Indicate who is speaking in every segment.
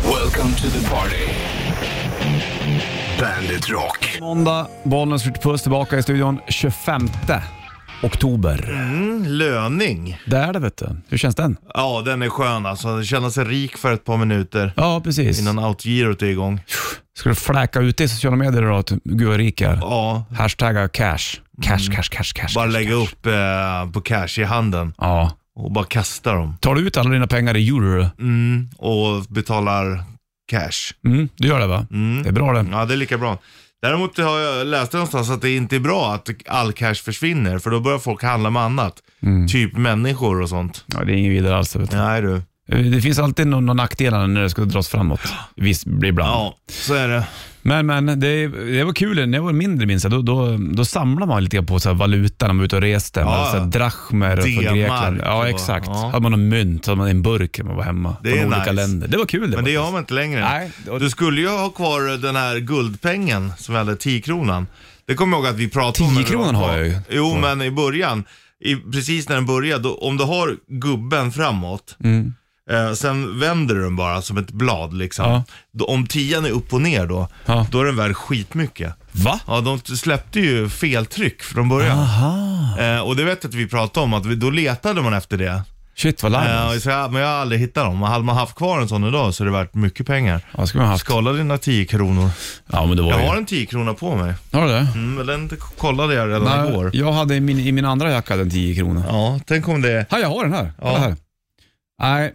Speaker 1: Welcome to the party. Bandit Rock.
Speaker 2: Måndag, Bollnäs Puss tillbaka i studion 25 oktober.
Speaker 3: Löning.
Speaker 2: Det är det vet du. Hur känns den?
Speaker 3: Ja, den är skön alltså. Känna sig rik för ett par minuter
Speaker 2: Ja, precis.
Speaker 3: innan outgirot är igång.
Speaker 2: Ska du fläka ut i sociala medier idag att gud vad rik jag är?
Speaker 3: Ja,
Speaker 2: Hashtagga cash. Cash, cash, cash, cash.
Speaker 3: Mm. bara
Speaker 2: cash,
Speaker 3: lägga
Speaker 2: cash.
Speaker 3: upp eh, på cash i handen
Speaker 2: Ja.
Speaker 3: och bara kasta dem.
Speaker 2: Tar du ut alla dina pengar i euro?
Speaker 3: Mm, och betalar cash.
Speaker 2: Mm, du gör det va?
Speaker 3: Mm.
Speaker 2: Det är bra det.
Speaker 3: Ja, det är lika bra. Däremot har jag läst någonstans att det inte är bra att all cash försvinner, för då börjar folk handla med annat. Typ människor och sånt.
Speaker 2: Ja, det är inget vidare alls. Vet du.
Speaker 3: Nej du.
Speaker 2: Det finns alltid någon, någon nackdelar när det ska dras framåt. Visst, blir ibland.
Speaker 3: Ja, så är det.
Speaker 2: Men, men det, det var kul. När jag var mindre minns jag, då, då, då samlade man lite på så här valuta när man var ute och reste. Man
Speaker 3: Ja,
Speaker 2: hade så här
Speaker 3: ja.
Speaker 2: drachmer från
Speaker 3: Ah, D-mark
Speaker 2: Grekland.
Speaker 3: och-
Speaker 2: Ja, exakt.
Speaker 3: ja.
Speaker 2: Hade man någon mynt, hade man en burk när man var hemma.
Speaker 3: Det
Speaker 2: från
Speaker 3: är
Speaker 2: olika
Speaker 3: nice.
Speaker 2: länder. Det var kul det.
Speaker 3: Men det
Speaker 2: faktiskt.
Speaker 3: har man inte längre.
Speaker 2: Nej, och-
Speaker 3: Du skulle ju ha kvar den här guldpengen som vi hade, 10-kronan. Det kommer jag ihåg att vi pratade om. när du var
Speaker 2: 10-kronan har
Speaker 3: kvar.
Speaker 2: jag ju.
Speaker 3: Jo, men i början, i, precis när den började, då, om du har gubben framåt,
Speaker 2: Mm.
Speaker 3: eh, sen vänder du den bara som ett blad liksom.
Speaker 2: Ja.
Speaker 3: Då, om tian är upp och ner då,
Speaker 2: Ja.
Speaker 3: då är den värd skitmycket.
Speaker 2: Va?
Speaker 3: Ja, de släppte ju fel tryck från början.
Speaker 2: Ah.
Speaker 3: Eh, och det vet jag att vi pratade om, att vi, då letade man efter det.
Speaker 2: Shit vad larm.
Speaker 3: Eh,
Speaker 2: alltså.
Speaker 3: och så, ja, men jag har aldrig hittat dem. Hade man haft kvar en sån idag så är det värt mycket pengar.
Speaker 2: Ja, ska man ha haft.
Speaker 3: Skala dina 10 kronor.
Speaker 2: Ja, men det var
Speaker 3: Jag
Speaker 2: ju...
Speaker 3: har en 10 krona på mig.
Speaker 2: Har du det?
Speaker 3: Mm, men den kollade jag redan
Speaker 2: Nej,
Speaker 3: igår.
Speaker 2: jag hade i min, i min andra jacka den 10 kronor. Ja.
Speaker 3: Ja, tänk om det...
Speaker 2: jag har den här.
Speaker 3: Ja.
Speaker 2: Kolla här. Nej,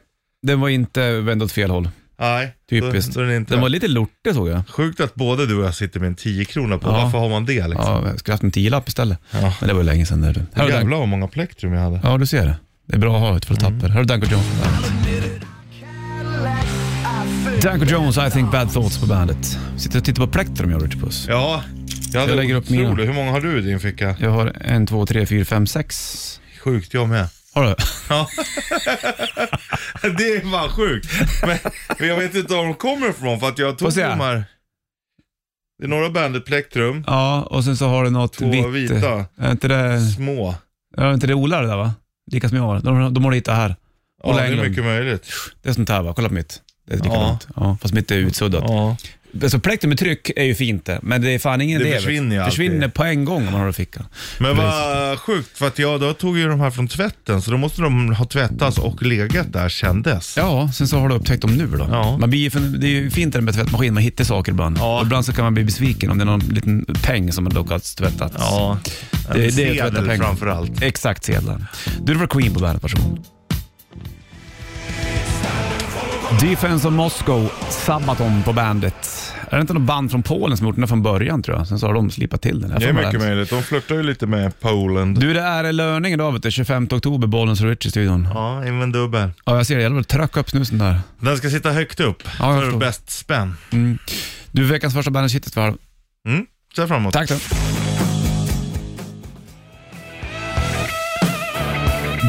Speaker 2: den var inte vänd åt fel håll.
Speaker 3: Nej,
Speaker 2: Typiskt.
Speaker 3: Då, då är det inte.
Speaker 2: Den var lite lortig såg jag.
Speaker 3: Sjukt att både du och jag sitter med en 10 krona på.
Speaker 2: Ja.
Speaker 3: Varför har man det liksom?
Speaker 2: Ja, jag skulle haft en tiolapp istället.
Speaker 3: Ja.
Speaker 2: Men det var ju länge sedan. Där. du. Här har du den.
Speaker 3: Jävlar vad många plektrum jag hade.
Speaker 2: Ja, du ser det. Det är bra att ha ett för att tappa det. Här har du Danko Jones. Danko Jones, I think bad thoughts på bandet. Sitter och tittar på plektrum jag Richard Puss.
Speaker 3: Ja, jag, hade
Speaker 2: Jag lägger upp
Speaker 3: otroligt-
Speaker 2: mina.
Speaker 3: Hur många har du i din ficka?
Speaker 2: Jag har en, två, tre, fyra, fem, sex.
Speaker 3: Sjukt, jag med.
Speaker 2: Har du?
Speaker 3: Ja. det är fan sjukt. Men, men jag vet inte var de kommer ifrån för att jag
Speaker 2: Får
Speaker 3: tog de
Speaker 2: se.
Speaker 3: här. Det är några bandet plektrum,
Speaker 2: Ja, och sen så har du något
Speaker 3: Två
Speaker 2: vitt.
Speaker 3: vita.
Speaker 2: Är inte det,
Speaker 3: små.
Speaker 2: är inte det Ola det där va? Lika som jag har. De, de har hittat här.
Speaker 3: Ja,
Speaker 2: Ola
Speaker 3: det är
Speaker 2: Englund.
Speaker 3: mycket möjligt.
Speaker 2: Det är sånt här va? Kolla på mitt. Det är likadant. Ja. fast mitt är utsuddat.
Speaker 3: Ja.
Speaker 2: Alltså plektrum med tryck är ju fint det, men det är fan ingen
Speaker 3: Det
Speaker 2: idé. vet du.
Speaker 3: försvinner ju alltid.
Speaker 2: försvinner på en gång om man har det i fickan.
Speaker 3: Men vad sjukt, för att jag då tog ju de här från tvätten, så då måste de ha tvättats och legat där kändes.
Speaker 2: Ja, sen så har du upptäckt dem nu då.
Speaker 3: Ja.
Speaker 2: Man blir, ju för- det är ju fint det där med tvättmaskin, man hittar saker ibland.
Speaker 3: Ja.
Speaker 2: Och ibland så kan man bli besviken om det är någon liten peng som har lockats tvättats.
Speaker 3: Ja,
Speaker 2: det, det är
Speaker 3: sedel
Speaker 2: tvättarpengar.
Speaker 3: framförallt.
Speaker 2: Exakt sedlar. Du, det var Queen på bandet, varsågod. Defense of Moscow, Sabaton på bandet. Är det inte något band från Polen som har gjort den här från början tror jag? Sen så har de slipat till den. här.
Speaker 3: Det är
Speaker 2: Fan, vad
Speaker 3: mycket
Speaker 2: hemskt.
Speaker 3: möjligt. De flörtar ju lite med Poland.
Speaker 2: Du, det är löning idag vet du. 25 oktober, Bollens och Rich i studion.
Speaker 3: Ja, in med en dubbel.
Speaker 2: Ja, jag ser det. Det gäller att tröcka upp snusen där.
Speaker 3: Den ska sitta högt upp,
Speaker 2: jag
Speaker 3: för
Speaker 2: förstår.
Speaker 3: bäst spänn.
Speaker 2: Du, veckans första bandet kittet för halv.
Speaker 3: Mm, ser jag fram emot.
Speaker 2: Tack då.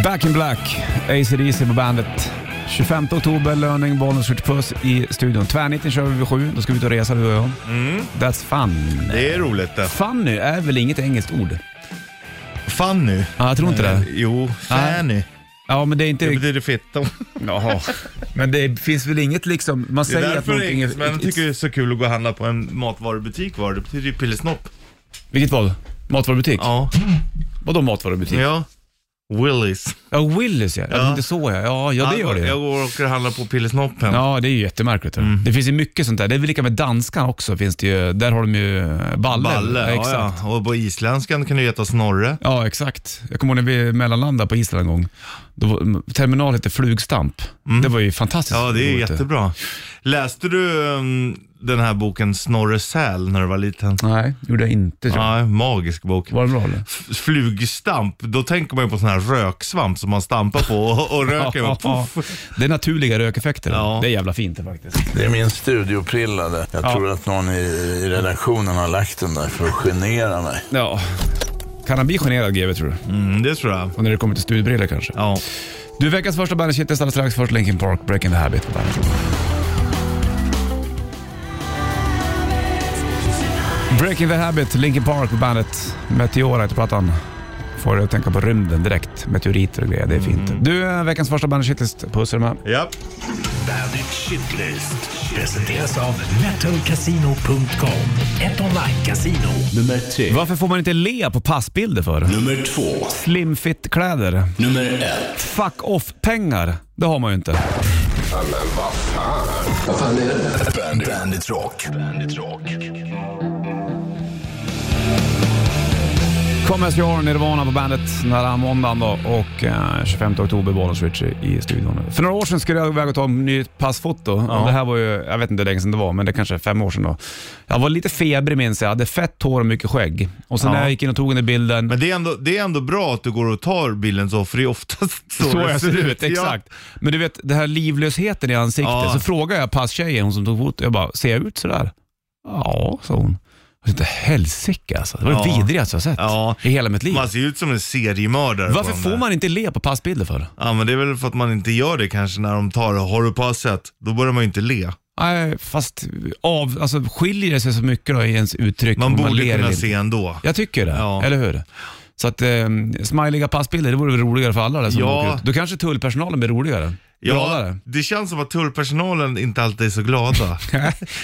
Speaker 2: Back in Black, AC/DC på bandet. 25 oktober, löning, Bollnäs, Puss i studion. Tvärnitten kör vi vid sju, då ska vi ut och resa du och jag.
Speaker 3: Mm.
Speaker 2: That's fun.
Speaker 3: Det är roligt det.
Speaker 2: Funny är väl inget engelskt ord?
Speaker 3: Fanny.
Speaker 2: Ja, jag tror inte det.
Speaker 3: Eh, Jo, Fanny.
Speaker 2: Ja, men det är
Speaker 3: Det
Speaker 2: inte...
Speaker 3: betyder fitta.
Speaker 2: Jaha. Men det finns väl inget liksom... Man
Speaker 3: Det är
Speaker 2: säger att
Speaker 3: därför
Speaker 2: någonting är...
Speaker 3: engelsmännen tycker det är så kul att gå och handla på en matvarubutik var det. Det betyder ju pillesnopp.
Speaker 2: Vilket var det? Matvarubutik?
Speaker 3: Ja.
Speaker 2: Vadå matvarubutik?
Speaker 3: ja. Willys.
Speaker 2: Ja, Willys ja.
Speaker 3: Ja.
Speaker 2: ja. Det så ja. Ja, ja det gör det.
Speaker 3: Jag går och åker och handlar på pillesnoppen.
Speaker 2: Ja, det är ju jättemärkligt. vet du.
Speaker 3: Mm.
Speaker 2: Det finns ju mycket sånt där. Det är väl lika med danskan också. Finns det ju, där har de ju eh, balle.
Speaker 3: Balle, ja,
Speaker 2: exakt.
Speaker 3: ja. Och på isländskan kan du heta Snorre.
Speaker 2: Ja, exakt. Jag kommer ihåg när vi mellanlandade på Island en gång. Då, var- m- terminal hette Flugstamp. Det var ju fantastiskt.
Speaker 3: Mm. Ja, det är
Speaker 2: roligt,
Speaker 3: jättebra. Läste du ehm, den här boken Snorre Säl när du var liten?
Speaker 2: Nej, gjorde jag inte. tror jag.
Speaker 3: Ja, magisk bok.
Speaker 2: Var det bra eller?
Speaker 3: F- Flugstamp, då tänker man ju på sån här röksvamp som man stampar på och, och röker.
Speaker 2: Ja,
Speaker 3: och puff.
Speaker 2: Det är naturliga rökeffekter.
Speaker 3: Ja.
Speaker 2: Det är jävla fint det faktiskt.
Speaker 4: Det är min studioprilla där. Jag tror att någon i, i redaktionen har lagt den där för att genera mig.
Speaker 2: Ja. Kan han bli generad GW tror du?
Speaker 3: Mm, det tror jag.
Speaker 2: Och när det kommer till studiebrillor kanske?
Speaker 3: Ja.
Speaker 2: Du, veckans första bandet Kittet alldeles strax. Först Linkin Park, Breaking the Habit på bandet. Breaking the Habit, Linkin Park på bandet. Meteora heter plattan. Får du att tänka på rymden direkt. Meteoriter och grejer, det är fint. Du, eh, veckans första Bandet Shitlist. Puss och kram.
Speaker 3: Ja.
Speaker 1: Bandit Shitlist presenteras av metalcasino.com. Ett online-casino.
Speaker 5: Nummer tre.
Speaker 2: Varför får man inte le på passbilder för?
Speaker 5: Nummer två.
Speaker 2: Slimfit-kläder.
Speaker 5: Nummer ett.
Speaker 2: Fuck off-pengar. Det har man ju inte.
Speaker 5: Bandit, Bandit Rock. Bandit Rock.
Speaker 2: Come as you are, Nirvana på bandet den här måndagen då och eh, 25 oktober, Bollnäs Switch i studion. För några år sedan skulle jag iväg och ta en ny passfoto. Det här var ju, jag vet inte hur länge sedan det var, men det kanske är fem år sedan då. Jag var lite febrig minns jag, hade fett hår och mycket skägg. Och sen när jag gick in och tog den där bilden,
Speaker 3: Men det är, ändå, det är ändå bra att du går och tar bilden så, för det är oftast så,
Speaker 2: så
Speaker 3: det
Speaker 2: jag ser ut.
Speaker 3: Ja.
Speaker 2: Exakt. Men du vet, den här livlösheten i ansiktet.
Speaker 3: Ja.
Speaker 2: Så frågade jag passtjejen, hon som tog fotot, jag bara, ser jag ut sådär? Ja, sa hon. Jag tänkte, helsike alltså. Det var det
Speaker 3: Ja.
Speaker 2: vidrigaste jag sett
Speaker 3: Ja.
Speaker 2: i hela mitt liv.
Speaker 3: Man ser ut som en seriemördare. på
Speaker 2: Varför
Speaker 3: de
Speaker 2: får
Speaker 3: där.
Speaker 2: man inte le på passbilder för?
Speaker 3: Ja, men det är väl för att man inte gör det kanske när de tar det. Har du passet? Då börjar man ju inte le.
Speaker 2: Nej, fast av, alltså, skiljer det sig så mycket då i ens uttryck?
Speaker 3: Man
Speaker 2: om
Speaker 3: borde
Speaker 2: ler
Speaker 3: kunna
Speaker 2: eller
Speaker 3: se
Speaker 2: inte?
Speaker 3: ändå.
Speaker 2: Jag tycker det,
Speaker 3: Ja.
Speaker 2: eller hur? Så att eh, smiliga passbilder, det vore väl roligare för alla det som
Speaker 3: Ja.
Speaker 2: åker ut. Då kanske tullpersonalen blir roligare.
Speaker 3: Ja,
Speaker 2: Gladare.
Speaker 3: det känns som att tullpersonalen inte alltid är så glada.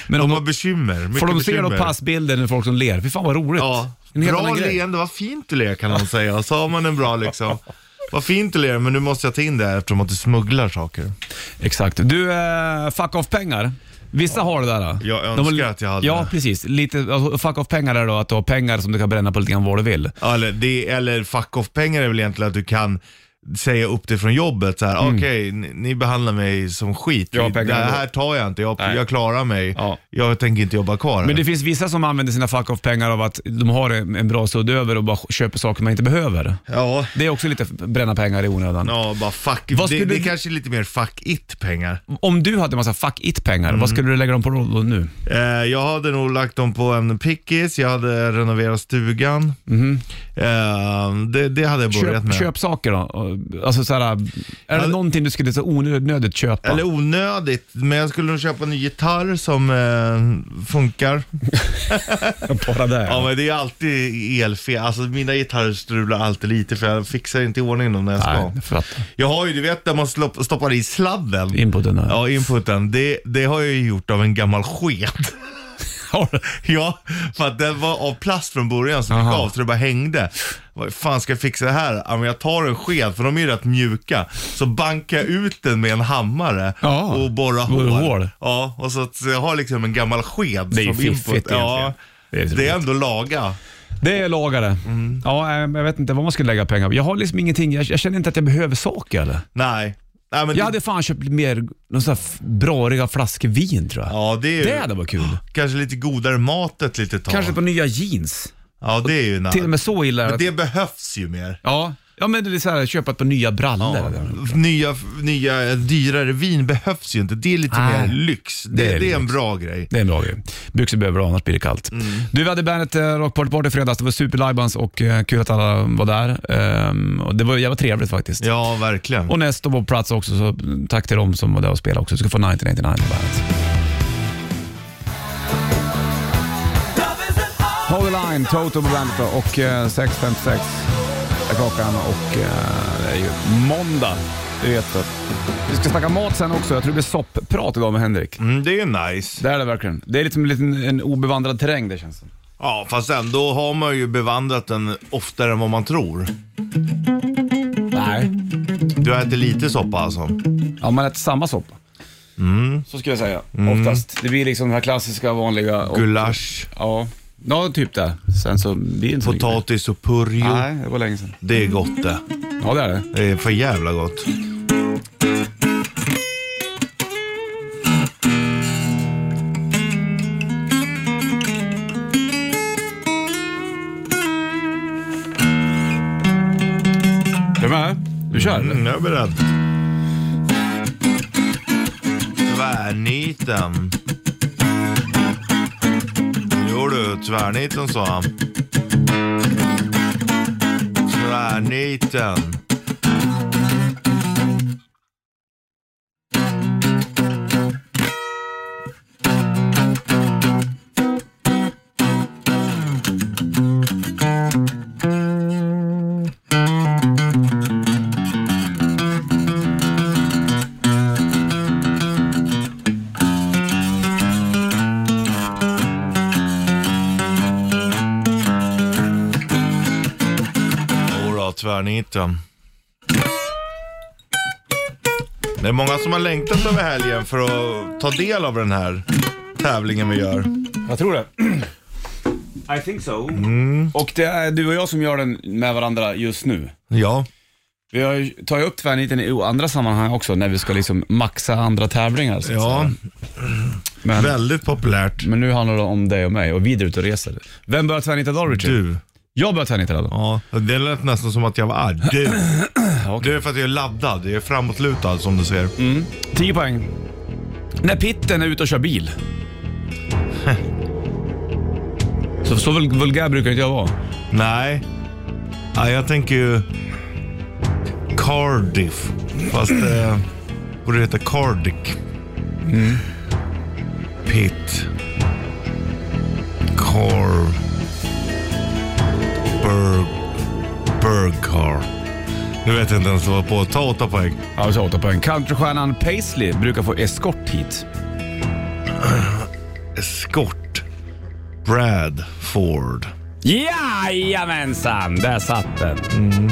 Speaker 2: Men om
Speaker 3: De har
Speaker 2: de,
Speaker 3: bekymmer. Mycket
Speaker 2: får de se
Speaker 3: bekymmer.
Speaker 2: då passbilder när folk som ler? Fy fan vad roligt.
Speaker 3: Ja.
Speaker 2: En helt
Speaker 3: Bra
Speaker 2: annan grej.
Speaker 3: leende, vad fint du ler kan någon säga. Och Så har man en bra liksom. Vad fint du ler, men nu måste jag ta in det här eftersom att du smugglar saker.
Speaker 2: Exakt. Du, eh, fuck off-pengar. Vissa har det där. Då.
Speaker 3: Jag
Speaker 2: De
Speaker 3: önskar
Speaker 2: har-
Speaker 3: att jag hade
Speaker 2: Ja,
Speaker 3: det.
Speaker 2: precis. Lite, alltså, fuck off-pengar är då att du har pengar som du kan bränna på lite grann vad du vill.
Speaker 3: Ja, Eller, det, eller fuck off-pengar är väl egentligen att du kan säga upp det från jobbet. Så här, Okej, ni, ni behandlar mig som skit.
Speaker 2: Ja, Mm. pengar
Speaker 3: det här
Speaker 2: ändå.
Speaker 3: tar jag inte. Jag,
Speaker 2: Nej.
Speaker 3: jag klarar mig.
Speaker 2: Ja.
Speaker 3: Jag tänker inte jobba kvar.
Speaker 2: Men
Speaker 3: här.
Speaker 2: det finns vissa som använder sina fuck off-pengar av att de har en en bra sudd över och bara köper saker man inte behöver.
Speaker 3: ja.
Speaker 2: Det är också lite bränna pengar i onödan.
Speaker 3: ja, bara fuck.
Speaker 2: Vad
Speaker 3: Det,
Speaker 2: skulle
Speaker 3: det
Speaker 2: du-
Speaker 3: kanske är lite mer fuck it-pengar.
Speaker 2: Om du hade en massa fuck it-pengar,
Speaker 3: Mm.
Speaker 2: vad skulle du lägga dem på då då nu?
Speaker 3: Eh, jag hade nog lagt dem på en pickis, jag hade renoverat stugan. Eh, det, det hade jag börjat
Speaker 2: Mm-hmm. Köp,
Speaker 3: med.
Speaker 2: köp saker då? Och- Alltså så här, är det
Speaker 3: Alltså-
Speaker 2: någonting du skulle så onödigt köpa?
Speaker 3: Eller onödigt, men jag skulle nog köpa en ny gitarr som eh, funkar.
Speaker 2: bara det?
Speaker 3: Ja men det är alltid elfel, alltså mina gitarrer strular alltid lite för jag fixar inte i ordning dem när jag ska.
Speaker 2: Nej, jag fattar.
Speaker 3: Jag har ju, du vet där man slopp- stoppar i sladden.
Speaker 2: Inputen här.
Speaker 3: Ja, inputen. Det, det har jag ju gjort av en gammal sked. Ja, för att den var av plast från början som gick
Speaker 2: Aha.
Speaker 3: av så det bara hängde. Vad fan ska jag fixa det här? Ja, men jag tar en sked, för de är ju rätt mjuka. Så bankar jag ut den med en hammare
Speaker 2: Ja,
Speaker 3: och borrar
Speaker 2: borrar
Speaker 3: hål.
Speaker 2: hål.
Speaker 3: Ja, och så, att jag har liksom en gammal sked
Speaker 2: Det är ju
Speaker 3: som input.
Speaker 2: fiffigt egentligen.
Speaker 3: ja,
Speaker 2: Det är så
Speaker 3: Det är ändå laga.
Speaker 2: Det är lagare.
Speaker 3: Mm.
Speaker 2: Ja, eh, jag vet inte vad man skulle lägga pengar på. Jag har liksom ingenting, jag, jag känner inte att jag behöver saker. Eller?
Speaker 3: Nej. Nej men
Speaker 2: Jag
Speaker 3: det,
Speaker 2: hade fan köpt mer, någon sån här f- brariga flaskor vin tror jag.
Speaker 3: ja, det är ju
Speaker 2: Det hade varit kul.
Speaker 3: kanske lite godare mat ett litet tag.
Speaker 2: Kanske på nya jeans.
Speaker 3: Ja, det är ju nice.
Speaker 2: Till och med så illa.
Speaker 3: Men
Speaker 2: att-
Speaker 3: det behövs ju mer.
Speaker 2: Ja. ja, men det är så här, köpa ett par nya brallor.
Speaker 3: Ja,
Speaker 2: eller?
Speaker 3: nya, nya dyrare vin behövs ju inte. Det är lite
Speaker 2: Nej.
Speaker 3: mer lyx. Det,
Speaker 2: Det
Speaker 3: det,
Speaker 2: är
Speaker 3: är, en bra grej.
Speaker 2: Det är en bra grej. Byxor behöver du, annars blir det kallt.
Speaker 3: Mm.
Speaker 2: Du, vi hade bandet eh, Rockparty Party i fredags. Det var superlajbans och eh, kul att alla var där. Ehm, och det var jävla trevligt faktiskt.
Speaker 3: Ja, verkligen.
Speaker 2: Och Nesto var på plats också, så mm, tack till dem som var där och spelade också. Du ska få 1999 på bandet. Hold the line, Toto på bandet då, och eh, 6.56 är klockan och eh, det är ju måndag. Du vet det. Vi ska snacka mat sen också. Jag tror det blir sopprat idag med Henrik.
Speaker 3: Mm, det är ju nice.
Speaker 2: Det är det verkligen. Det är liksom en, liten, en obevandrad terräng det känns som.
Speaker 3: Ja, fast ändå har man ju bevandrat den oftare än vad man tror.
Speaker 2: Nej.
Speaker 3: Du äter lite soppa alltså?
Speaker 2: Ja, man äter samma soppa.
Speaker 3: Mm.
Speaker 2: Så skulle jag säga, oftast. Det blir liksom den här klassiska vanliga. och-
Speaker 3: Gulasch,
Speaker 2: Ja, ja typ det. Sen så blir det inte så mycket mer.
Speaker 3: potatis och purjo.
Speaker 2: Nej, det var länge sedan.
Speaker 3: Det är gott det.
Speaker 2: Ja, det är det.
Speaker 3: Det är för jävla gott.
Speaker 2: Är du med? Du kör?
Speaker 3: Mm, jag är beredd. Tvärniten. Jo du, tvärniten sa han. Tvärniten. tvärniten. Det är många som har längtat över helgen för att ta del av den här tävlingen vi gör.
Speaker 2: Mm. Jag tror det. Mm. I think so. Och det är du och jag som gör den med varandra just nu.
Speaker 3: Ja.
Speaker 2: Vi har ju, tar ju upp tvärniten i andra sammanhang också, när vi ska liksom maxa andra tävlingar. Så att
Speaker 3: Ja,
Speaker 2: säga. men,
Speaker 3: väldigt populärt.
Speaker 2: men nu handlar det om dig och mig och vi är ute och reser. Vem börjar tvärnita idag Richard?
Speaker 3: Du.
Speaker 2: Jag börjar tvärnita idag.
Speaker 3: Ja, det lät nästan som att jag var arg. Du. Det är för att jag är laddad. Jag är framåtlutad som du ser.
Speaker 2: 10 poäng. När Pitten är ute och kör bil. så, så vul- vulgär brukar inte jag vara.
Speaker 3: Nej. Ja, jag tänker ju Cardiff. Fast eh, borde heta Cardick. Pitt. Car. Berg. Bergcar. Nu vet jag inte ens vad jag var på. Ta åtta poäng.
Speaker 2: Ja, vi tar 8 poäng. Countrystjärnan Paisley brukar få eskort hit.
Speaker 3: Eskort. Brad Ford.
Speaker 2: Jajamensan, där satt den.
Speaker 3: Mm.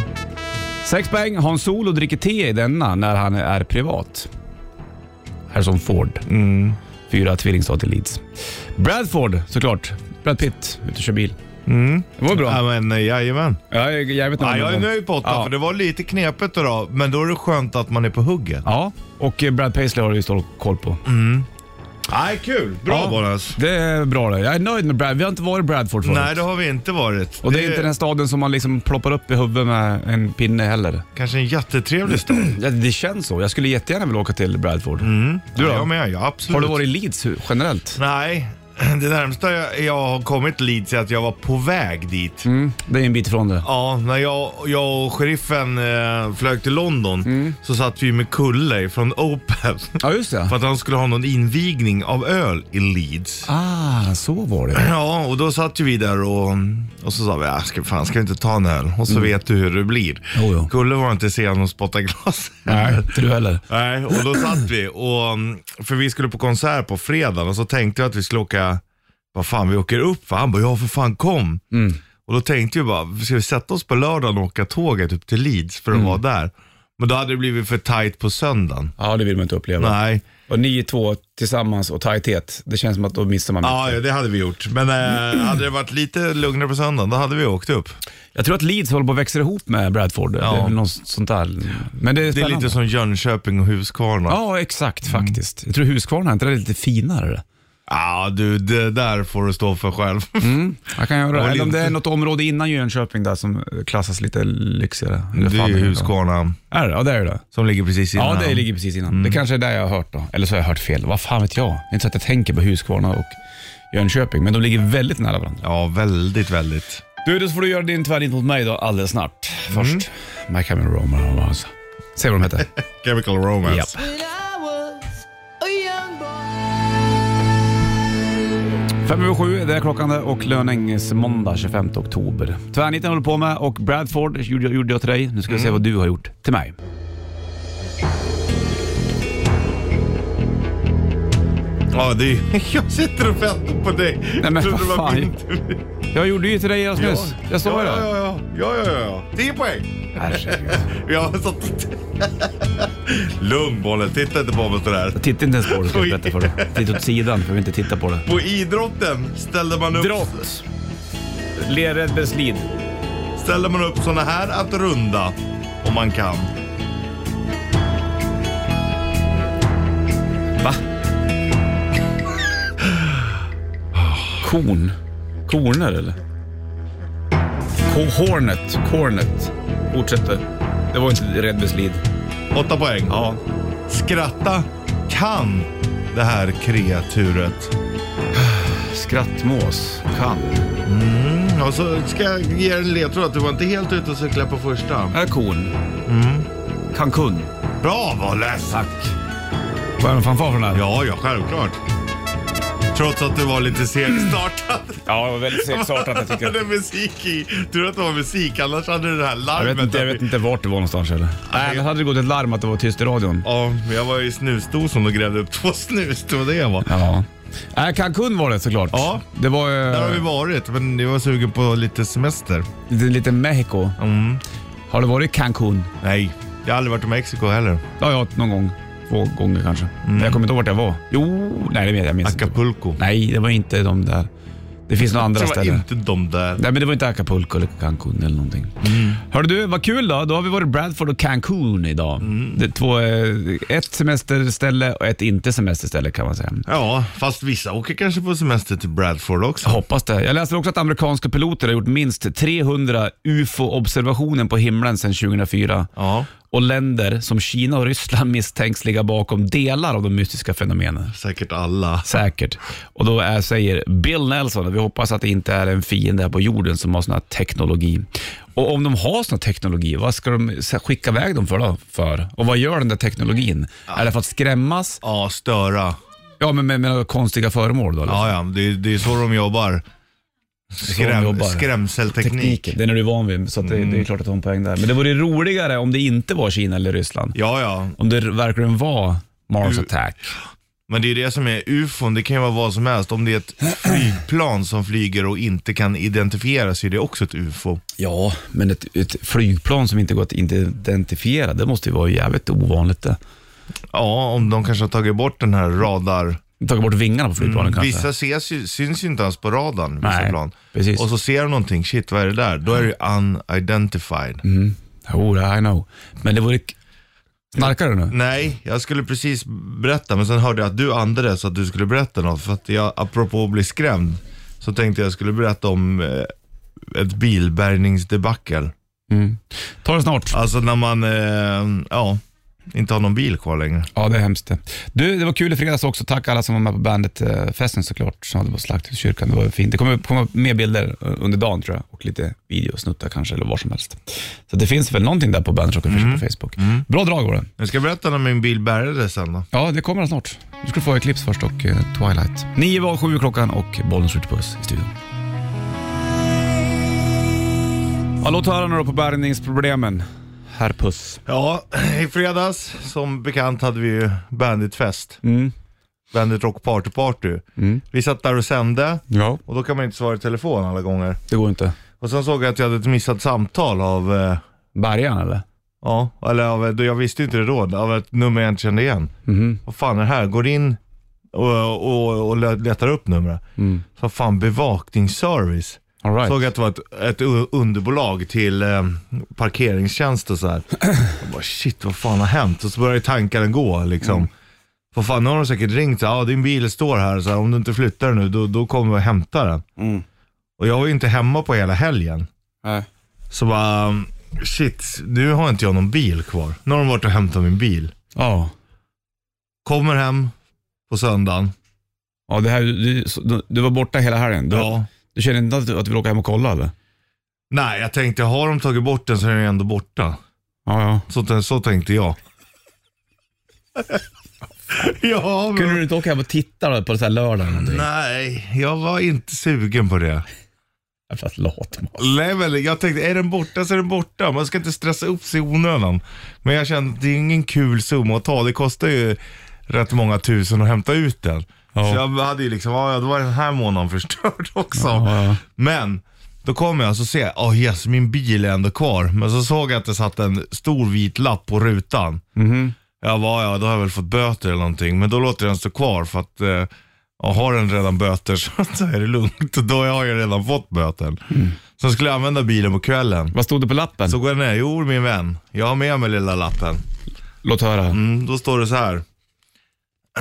Speaker 2: Sex poäng. Hans Solo dricker te i denna när han är privat. Harrison Ford.
Speaker 3: Mm.
Speaker 2: Fyra tvillingstad till Leeds. Bradford såklart. Brad Pitt, ute och kör bil. Det var
Speaker 3: Ja,
Speaker 2: bra.
Speaker 3: men eh, jajamän.
Speaker 2: Ja, jag, jag, vet inte
Speaker 3: Ja,
Speaker 2: om
Speaker 3: jag
Speaker 2: det
Speaker 3: är
Speaker 2: var-
Speaker 3: nöjd på åtta,
Speaker 2: Ja.
Speaker 3: för det var lite knepigt idag. Men då är det skönt att man är på hugget.
Speaker 2: Ja, och eh, Brad Paisley har du ju stål koll på.
Speaker 3: Nej, kul. Bra
Speaker 2: Ja.
Speaker 3: Bonas.
Speaker 2: Det är bra det. Jag är nöjd med Brad. Vi har inte varit i Bradford förut.
Speaker 3: Nej, det har vi inte varit.
Speaker 2: Och det är inte den staden som man liksom ploppar upp i huvudet med en pinne heller.
Speaker 3: kanske en jättetrevlig stad.
Speaker 2: Ja, det känns så. Jag skulle jättegärna vilja åka till Bradford.
Speaker 3: Du då? Jag med, ja, absolut.
Speaker 2: Har du varit i Leeds hu- generellt?
Speaker 3: Nej, det närmsta jag, jag har kommit Leeds är att jag var på väg dit.
Speaker 2: Mm. Det är en bit ifrån det.
Speaker 3: Ja, när jag, jag och sheriffen eh, flög till London
Speaker 2: Mm.
Speaker 3: så satt vi med Kulle från Open.
Speaker 2: Ja, just det.
Speaker 3: För att han skulle ha någon invigning av öl i Leeds.
Speaker 2: Ah, så var det.
Speaker 3: Ja, och då satt ju vi där och, och så sa vi, "Ah, ska, fan ska vi inte ta en öl? Och så vet du hur det blir.
Speaker 2: Mm. Jo, jo.
Speaker 3: Kulle var inte sen att spotta glas.
Speaker 2: Nej, inte du heller.
Speaker 3: Nej, och då satt vi och, mm, för vi skulle på konsert på fredagen och så tänkte jag att vi skulle åka, vad fan vi åker upp va? Han bara, ja för fan kom.
Speaker 2: Mm.
Speaker 3: Och då tänkte jag bara, ska vi sätta oss på lördagen och åka tåget upp till Leeds för att
Speaker 2: Mm.
Speaker 3: vara där? Men då hade det blivit för tight på söndagen.
Speaker 2: Ja, det vill man inte uppleva.
Speaker 3: Nej,
Speaker 2: Och ni två tillsammans och tajthet, det känns som att då missar man
Speaker 3: ja, ja, det hade vi gjort. Men
Speaker 2: Mm.
Speaker 3: eh, hade det varit lite lugnare på söndagen, då hade vi åkt upp.
Speaker 2: Jag tror att Leeds håller på att växa ihop med Bradford. Det är
Speaker 3: Ja.
Speaker 2: väl något sånt där. Men det är
Speaker 3: Det är
Speaker 2: spännande.
Speaker 3: lite som Jönköping och Huskvarna. Ja,
Speaker 2: Ja, exakt
Speaker 3: Mm.
Speaker 2: faktiskt. Jag tror Huskvarna, är inte det lite finare?
Speaker 3: du, det där får du stå för själv.
Speaker 2: Mm, Jag kan göra
Speaker 3: Ja,
Speaker 2: det. Eller om
Speaker 3: lite.
Speaker 2: det är något område innan Jönköping där som klassas lite lyxigare. Eller
Speaker 3: Det är
Speaker 2: fan
Speaker 3: ju
Speaker 2: det
Speaker 3: Huskvarna
Speaker 2: Är det? Ja, det är det.
Speaker 3: som ligger precis innan. Mm.
Speaker 2: Ja, det ligger precis innan. Det kanske är där jag har hört då. Eller så har jag hört fel. Vad fan vet jag? Det är inte så att jag tänker på Huskvarna och Jönköping, men de ligger väldigt nära varandra.
Speaker 3: Ja, väldigt, väldigt.
Speaker 2: Du, då får du göra din tvärnit mot mig då alldeles snart. Först,
Speaker 3: Mm.
Speaker 2: My Cameron Romer. Alltså. Se vad de heter.
Speaker 3: Chemical Romance.
Speaker 2: Japp. Fem över sju, det är klockan det och Lönängs måndag 25 oktober. Tvärniten håller på med och Bradford gjorde jag, gjorde jag till dig. Nu ska vi se
Speaker 3: Mm.
Speaker 2: vad du har gjort till mig.
Speaker 3: Ja, det är, jag sitter och väntar på dig.
Speaker 2: Nej, men
Speaker 3: Jag trodde
Speaker 2: vad
Speaker 3: det var
Speaker 2: fan.
Speaker 3: min tur.
Speaker 2: Jag gjorde ju till dig alldeles
Speaker 3: Ja.
Speaker 2: nyss. Jag sa
Speaker 3: ja,
Speaker 2: ju
Speaker 3: ja,
Speaker 2: det.
Speaker 3: ja, ja, ja, ja, ja. 10 poäng.
Speaker 2: Herregud.
Speaker 3: Jag har satt... Lugn bollen, titta inte på mig sådär.
Speaker 2: Titta inte ens på det, ska jag
Speaker 3: Oj.
Speaker 2: berätta för dig. Titta åt sidan, för vi inte titta på det.
Speaker 3: På idrotten ställde man upp,
Speaker 2: Drott. Lered Beslid.
Speaker 3: ställde man upp såna här att runda om man kan.
Speaker 2: Va? Korn. Korner eller? Ko- Hornet. Cornet. Fortsätter. Det var inte Red Beslid.
Speaker 3: 8 poäng.
Speaker 2: Ja.
Speaker 3: Skratta kan det här kreaturet.
Speaker 2: Skrattmås. Kan.
Speaker 3: Mm, och så ska jag ge er en ledtråd att du var inte helt ute och cykla på första.
Speaker 2: Är Äh, korn. Cancun.
Speaker 3: Bra Wallace!
Speaker 2: Mm. Tack. Får jag en fanfar för den här?
Speaker 3: Ja, ja, självklart. Trots att du var lite segstartad.
Speaker 2: Ja, det var väldigt segstartat jag
Speaker 3: det är musik i. Tur att det var musik, annars hade det här
Speaker 2: Jag
Speaker 3: larmet...
Speaker 2: vet, inte, jag vet inte vart det var någonstans heller. Nej, men hade det gått ett larm att det var tyst i radion.
Speaker 3: Ja, men jag var ju i snusdosan och grävde upp två snus. Det var det jag var.
Speaker 2: Ja. Nej, Cancun var det såklart.
Speaker 3: Ja.
Speaker 2: Det var
Speaker 3: Där har
Speaker 2: eh,
Speaker 3: vi varit, men jag var sugen på lite semester. Mm.
Speaker 2: lite, lite Mexiko. Har du varit i Cancun?
Speaker 3: Nej, jag har aldrig varit i Mexiko heller.
Speaker 2: Det har jag varit någon gång. Två gånger kanske. Men jag kommer inte ihåg vart jag var. Jo, nej det vet jag. jag minns inte.
Speaker 3: Mm. Acapulco.
Speaker 2: Nej, det var inte de där. Det finns några andra
Speaker 3: Det var
Speaker 2: ställen.
Speaker 3: inte de där.
Speaker 2: Nej, men det var inte Acapulco eller Cancun eller någonting.
Speaker 3: Mm.
Speaker 2: Hörru du, vad kul då. Då har vi varit i Bradford och Cancun idag.
Speaker 3: Mm.
Speaker 2: Det är två, eh, ett semesterställe och ett inte semesterställe kan man säga.
Speaker 3: Ja, fast vissa åker kanske på semester till Bradford också.
Speaker 2: Jag hoppas det. Jag läste också att amerikanska piloter har gjort minst 300 ufo-observationer på himlen sedan 2004.
Speaker 3: Ja,
Speaker 2: Och länder som Kina och Ryssland misstänks ligga bakom delar av de mystiska fenomenen.
Speaker 3: säkert alla.
Speaker 2: Säkert. Och då är, säger Bill Nelson, och vi hoppas att det inte är en fiende här på jorden som har sån här teknologi. Och om de har sån här teknologi, vad ska de s- skicka iväg dem för då? För? Och vad gör den där teknologin? Är det för att skrämmas?
Speaker 3: Ja, störa.
Speaker 2: Ja, men med, med några konstiga föremål då? eller?
Speaker 3: Ja, ja, det, är- det är så de jobbar.
Speaker 2: de
Speaker 3: Skräm,
Speaker 2: jobbar.
Speaker 3: Skrämselteknik.
Speaker 2: Tekniken, den är du van vid, så att det, det är klart att de har en poäng där. Men det vore roligare om det inte var Kina eller Ryssland.
Speaker 3: Ja, ja.
Speaker 2: Om det verkligen var Mars Attack.
Speaker 3: Men det är det som är ufon, det kan ju vara vad som helst. Om det är ett flygplan som flyger och inte kan identifiera sig, det är också ett ufo.
Speaker 2: Ja, men ett, ett flygplan som inte går att identifiera, det måste ju vara jävligt ovanligt det.
Speaker 3: Ja, om de kanske har tagit bort den här radar...
Speaker 2: tagit bort vingarna på flygplanen kanske.
Speaker 3: Vissa ses ju, syns ju inte ens på radarn, vissa
Speaker 2: Nej,
Speaker 3: plan.
Speaker 2: precis.
Speaker 3: Och så ser de någonting, shit vad är det där? Då är det ju unidentified.
Speaker 2: Jo, det I know. Men det vore... k- Snarkar du nu?
Speaker 3: Nej, jag skulle precis berätta, men sen hörde jag att du andades att du skulle berätta något. För att jag, apropå att bli skrämd, så tänkte jag skulle berätta om eh, ett bilbärgningsdebacle.
Speaker 2: Mm. Ta det snart.
Speaker 3: Alltså när man, eh, ja, inte har någon bil kvar längre.
Speaker 2: Ja, det är hemskt det. Du, det var kul i fredags också. Tack alla som var med på bandet-festen såklart, som hade på Slakthuskyrkan. Det var fint. Det kommer komma mer bilder eh, under dagen tror jag och lite videosnuttar kanske, eller vad som helst. Så det finns väl någonting där på Bandet Rock Official på Facebook. Bra drag var det.
Speaker 3: Jag ska berätta när min bil bärgades sen då.
Speaker 2: Ja, det kommer snart. Du ska få Eclipse först och eh, Twilight. Nio var sju klockan och bollen skjuter puss i studion. Ja, låt höra nu då på bärgningsproblemen. Herr Puss.
Speaker 3: Ja, i fredags som bekant hade vi ju banditfest.
Speaker 2: Mm,
Speaker 3: Bandit Rock Party Party. Vi satt där och sände
Speaker 2: Ja.
Speaker 3: och då kan man inte svara i telefon alla gånger.
Speaker 2: Det går inte.
Speaker 3: Och sen såg jag att jag hade ett missat samtal av eh,
Speaker 2: Bärgaren eller?
Speaker 3: Ja, eller av, då- jag visste inte det då, av ett nummer jag inte kände igen. Vad fan är det här? Går in och, och, och le- letar upp numret. Så fan bevakningsservice.
Speaker 2: All right.
Speaker 3: Såg att det var ett, ett u- underbolag till eh, parkeringstjänst och så här. Jag bara shit, vad fan har hänt? Och så började tankarna gå liksom. Vad fan, nu har de säkert ringt så här, ah, din bil står här, så här, om du inte flyttar den nu då, då kommer vi och hämtar den. Och jag var ju inte hemma på hela helgen.
Speaker 2: Nej.
Speaker 3: Så bara, um, shit, nu har inte jag någon bil kvar. Nu har de varit och hämtat min bil.
Speaker 2: Ja.
Speaker 3: Kommer hem på söndagen.
Speaker 2: Ja, det här, du, du, du var borta hela helgen. Du, du känner inte att du, att du vill åka hem och kolla eller?
Speaker 3: Nej, jag tänkte, har de tagit bort den så är den ändå borta.
Speaker 2: Ja, ja.
Speaker 3: Så, så tänkte jag. ja,
Speaker 2: Kunde
Speaker 3: men...
Speaker 2: du inte åka hem och titta då på det här lördagen? eller någonting?
Speaker 3: Nej, jag var inte sugen på det.
Speaker 2: Jag är fast lat. man.
Speaker 3: Nej, men jag tänkte, är den borta så är den borta. Man ska inte stressa upp sig i onödan. Men jag kände att det är ingen kul summa att ta. Det kostar ju rätt många tusen att hämta ut den. Så jag hade ju liksom, ja, då var den här månaden förstörd också.
Speaker 2: Ja, ja.
Speaker 3: Men då kom jag och så ser jag, oh yes, min bil är ändå kvar. Men så såg jag att det satt en stor vit lapp på rutan. Jag bara, ja, då har jag väl fått böter eller någonting. Men då låter den stå kvar för att eh, ja, har den redan böter så att då är det lugnt. Då har jag redan fått böten. Sen skulle jag använda bilen på kvällen.
Speaker 2: Vad stod det på lappen?
Speaker 3: Så går jag ner, jo min vän, jag har med mig lilla lappen.
Speaker 2: Låt höra.
Speaker 3: Mm, då står det så här.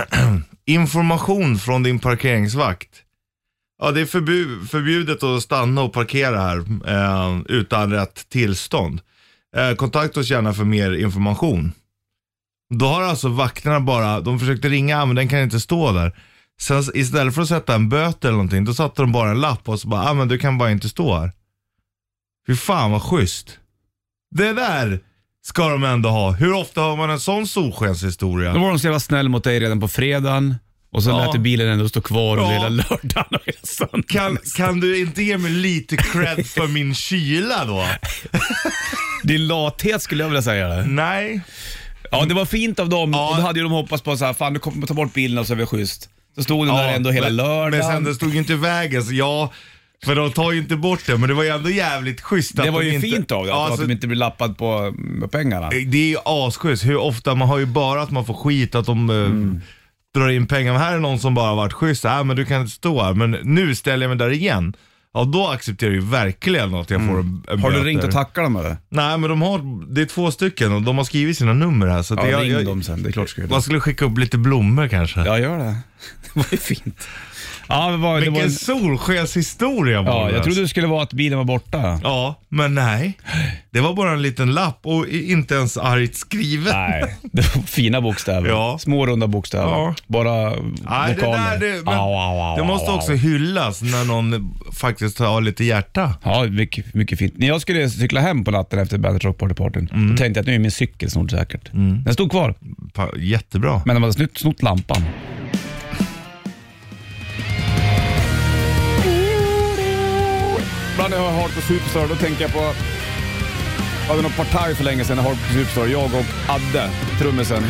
Speaker 3: Information från din parkeringsvakt. Ja, det är förbu- förbjudet att stanna och parkera här eh, utan rätt tillstånd. Eh, kontakta oss gärna för mer information. Då har alltså vakterna bara, de försökte ringa, ah, men den kan inte stå där. Sen s- istället för att sätta en böter eller någonting, då satte de bara en lapp och så bara, ah, men du kan bara inte stå här. Fy fan vad schysst. Det där ska de ändå ha. Hur ofta har man en sån solskenshistoria?
Speaker 2: Då var de så jävla snäll mot dig redan på fredagen och så
Speaker 3: Ja.
Speaker 2: lät du bilen ändå stå kvar under
Speaker 3: Ja.
Speaker 2: hela lördagen och hela söndagen.
Speaker 3: Kan, kan du inte ge mig lite cred för min kyla då?
Speaker 2: Din lathet skulle jag vilja säga det.
Speaker 3: Nej.
Speaker 2: Ja, det var fint av dem
Speaker 3: Ja.
Speaker 2: och då hade ju de hoppats på så här, fan du kommer ta bort bilen och så är vi schysst. Så stod den
Speaker 3: Ja,
Speaker 2: där ändå hela
Speaker 3: men-
Speaker 2: lördagen.
Speaker 3: Men sen det stod ju inte i vägen, så ja, För de tar ju inte bort det, men det var ju ändå jävligt schysst. att
Speaker 2: Det var
Speaker 3: de
Speaker 2: ju
Speaker 3: inte...
Speaker 2: fint av dig,
Speaker 3: Ja,
Speaker 2: att
Speaker 3: alltså,
Speaker 2: de inte blir lappad på på pengarna.
Speaker 3: Eh, Det är ju asschysst. Hur ofta, man har ju bara att man får skit att de eh,
Speaker 2: Mm.
Speaker 3: drar in pengar. Men här är någon som bara varit schysst. Äh, men du kan inte stå här. Men nu ställer jag mig där igen. Ja, då accepterar jag ju verkligen att jag får en, en
Speaker 2: Mm. Har du
Speaker 3: böter.
Speaker 2: ringt och tackat dem eller?
Speaker 3: Nej, men de har, det är två stycken och de har skrivit sina nummer här. Så att
Speaker 2: Ja,
Speaker 3: jag,
Speaker 2: ring
Speaker 3: jag,
Speaker 2: dem sen. Det är klart du ska göra
Speaker 3: Man
Speaker 2: det.
Speaker 3: skulle skicka upp lite blommor kanske.
Speaker 2: Ja, gör det. Det var ju fint. Ja, det var, det var
Speaker 3: Vilken
Speaker 2: en,
Speaker 3: solskenshistoria var
Speaker 2: ja,
Speaker 3: det
Speaker 2: jag
Speaker 3: alltså.
Speaker 2: trodde det skulle vara att bilen var borta.
Speaker 3: Ja, men nej. Det var bara en liten lapp och i- inte ens argt skrivet.
Speaker 2: Nej, det var fina bokstäver.
Speaker 3: Ja.
Speaker 2: Små runda bokstäver.
Speaker 3: Ja.
Speaker 2: Bara
Speaker 3: Nej, det,
Speaker 2: vokaler.
Speaker 3: där, det, men,
Speaker 2: Au, au, au,
Speaker 3: det måste
Speaker 2: au, au.
Speaker 3: också hyllas när någon faktiskt har lite hjärta.
Speaker 2: Ja, mycket, mycket fint. När jag skulle cykla hem på natten efter Bandit Rock Party-partyn,
Speaker 3: Mm.
Speaker 2: då tänkte jag att nu är min cykel snart säkert. Den stod kvar,
Speaker 3: Pa- Jättebra.
Speaker 2: men de hade snott, snott lampan. Ibland när jag hör Hardcore Superstar, då tänker jag på... Jag hade något partaj för länge sedan, Hardcore Superstar. Jag och Adde, trummisen,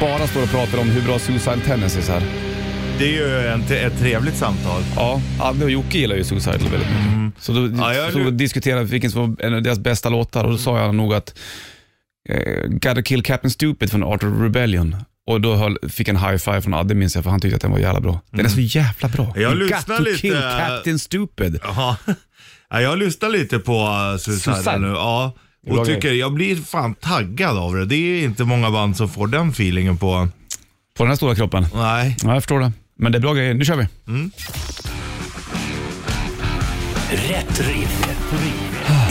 Speaker 2: bara står och pratar om hur bra Suicide Tendencies är.
Speaker 3: Det är ju en, ett trevligt samtal.
Speaker 2: Ja, Adde och Jocke gillar ju Suicidal väldigt mycket. Så då
Speaker 3: Mm. Ja, jag-
Speaker 2: stod och diskuterade vilken som var en av deras bästa låtar och då sa jag nog att eh, Gotta Kill Captain Stupid från Art of Rebellion. Och då höll, fick jag en high five från Adde minns jag, för han tyckte att den var jävla bra. Den är så jävla bra.
Speaker 3: Mm. Jag
Speaker 2: Got
Speaker 3: lyssnar
Speaker 2: to
Speaker 3: lite-
Speaker 2: kill Captain Stupid.
Speaker 3: Ja. Ja, Jag lyssnar lite på uh, Suicide,
Speaker 2: Suicide.
Speaker 3: nu. Ja.
Speaker 2: Bra
Speaker 3: Och tycker jag blir fan taggad av det. Det är inte många band som får den feelingen på...
Speaker 2: På den här stora kroppen.
Speaker 3: Nej.
Speaker 2: Ja, jag förstår det. Men det är bra grejer. Nu kör vi.
Speaker 1: Rätt riff.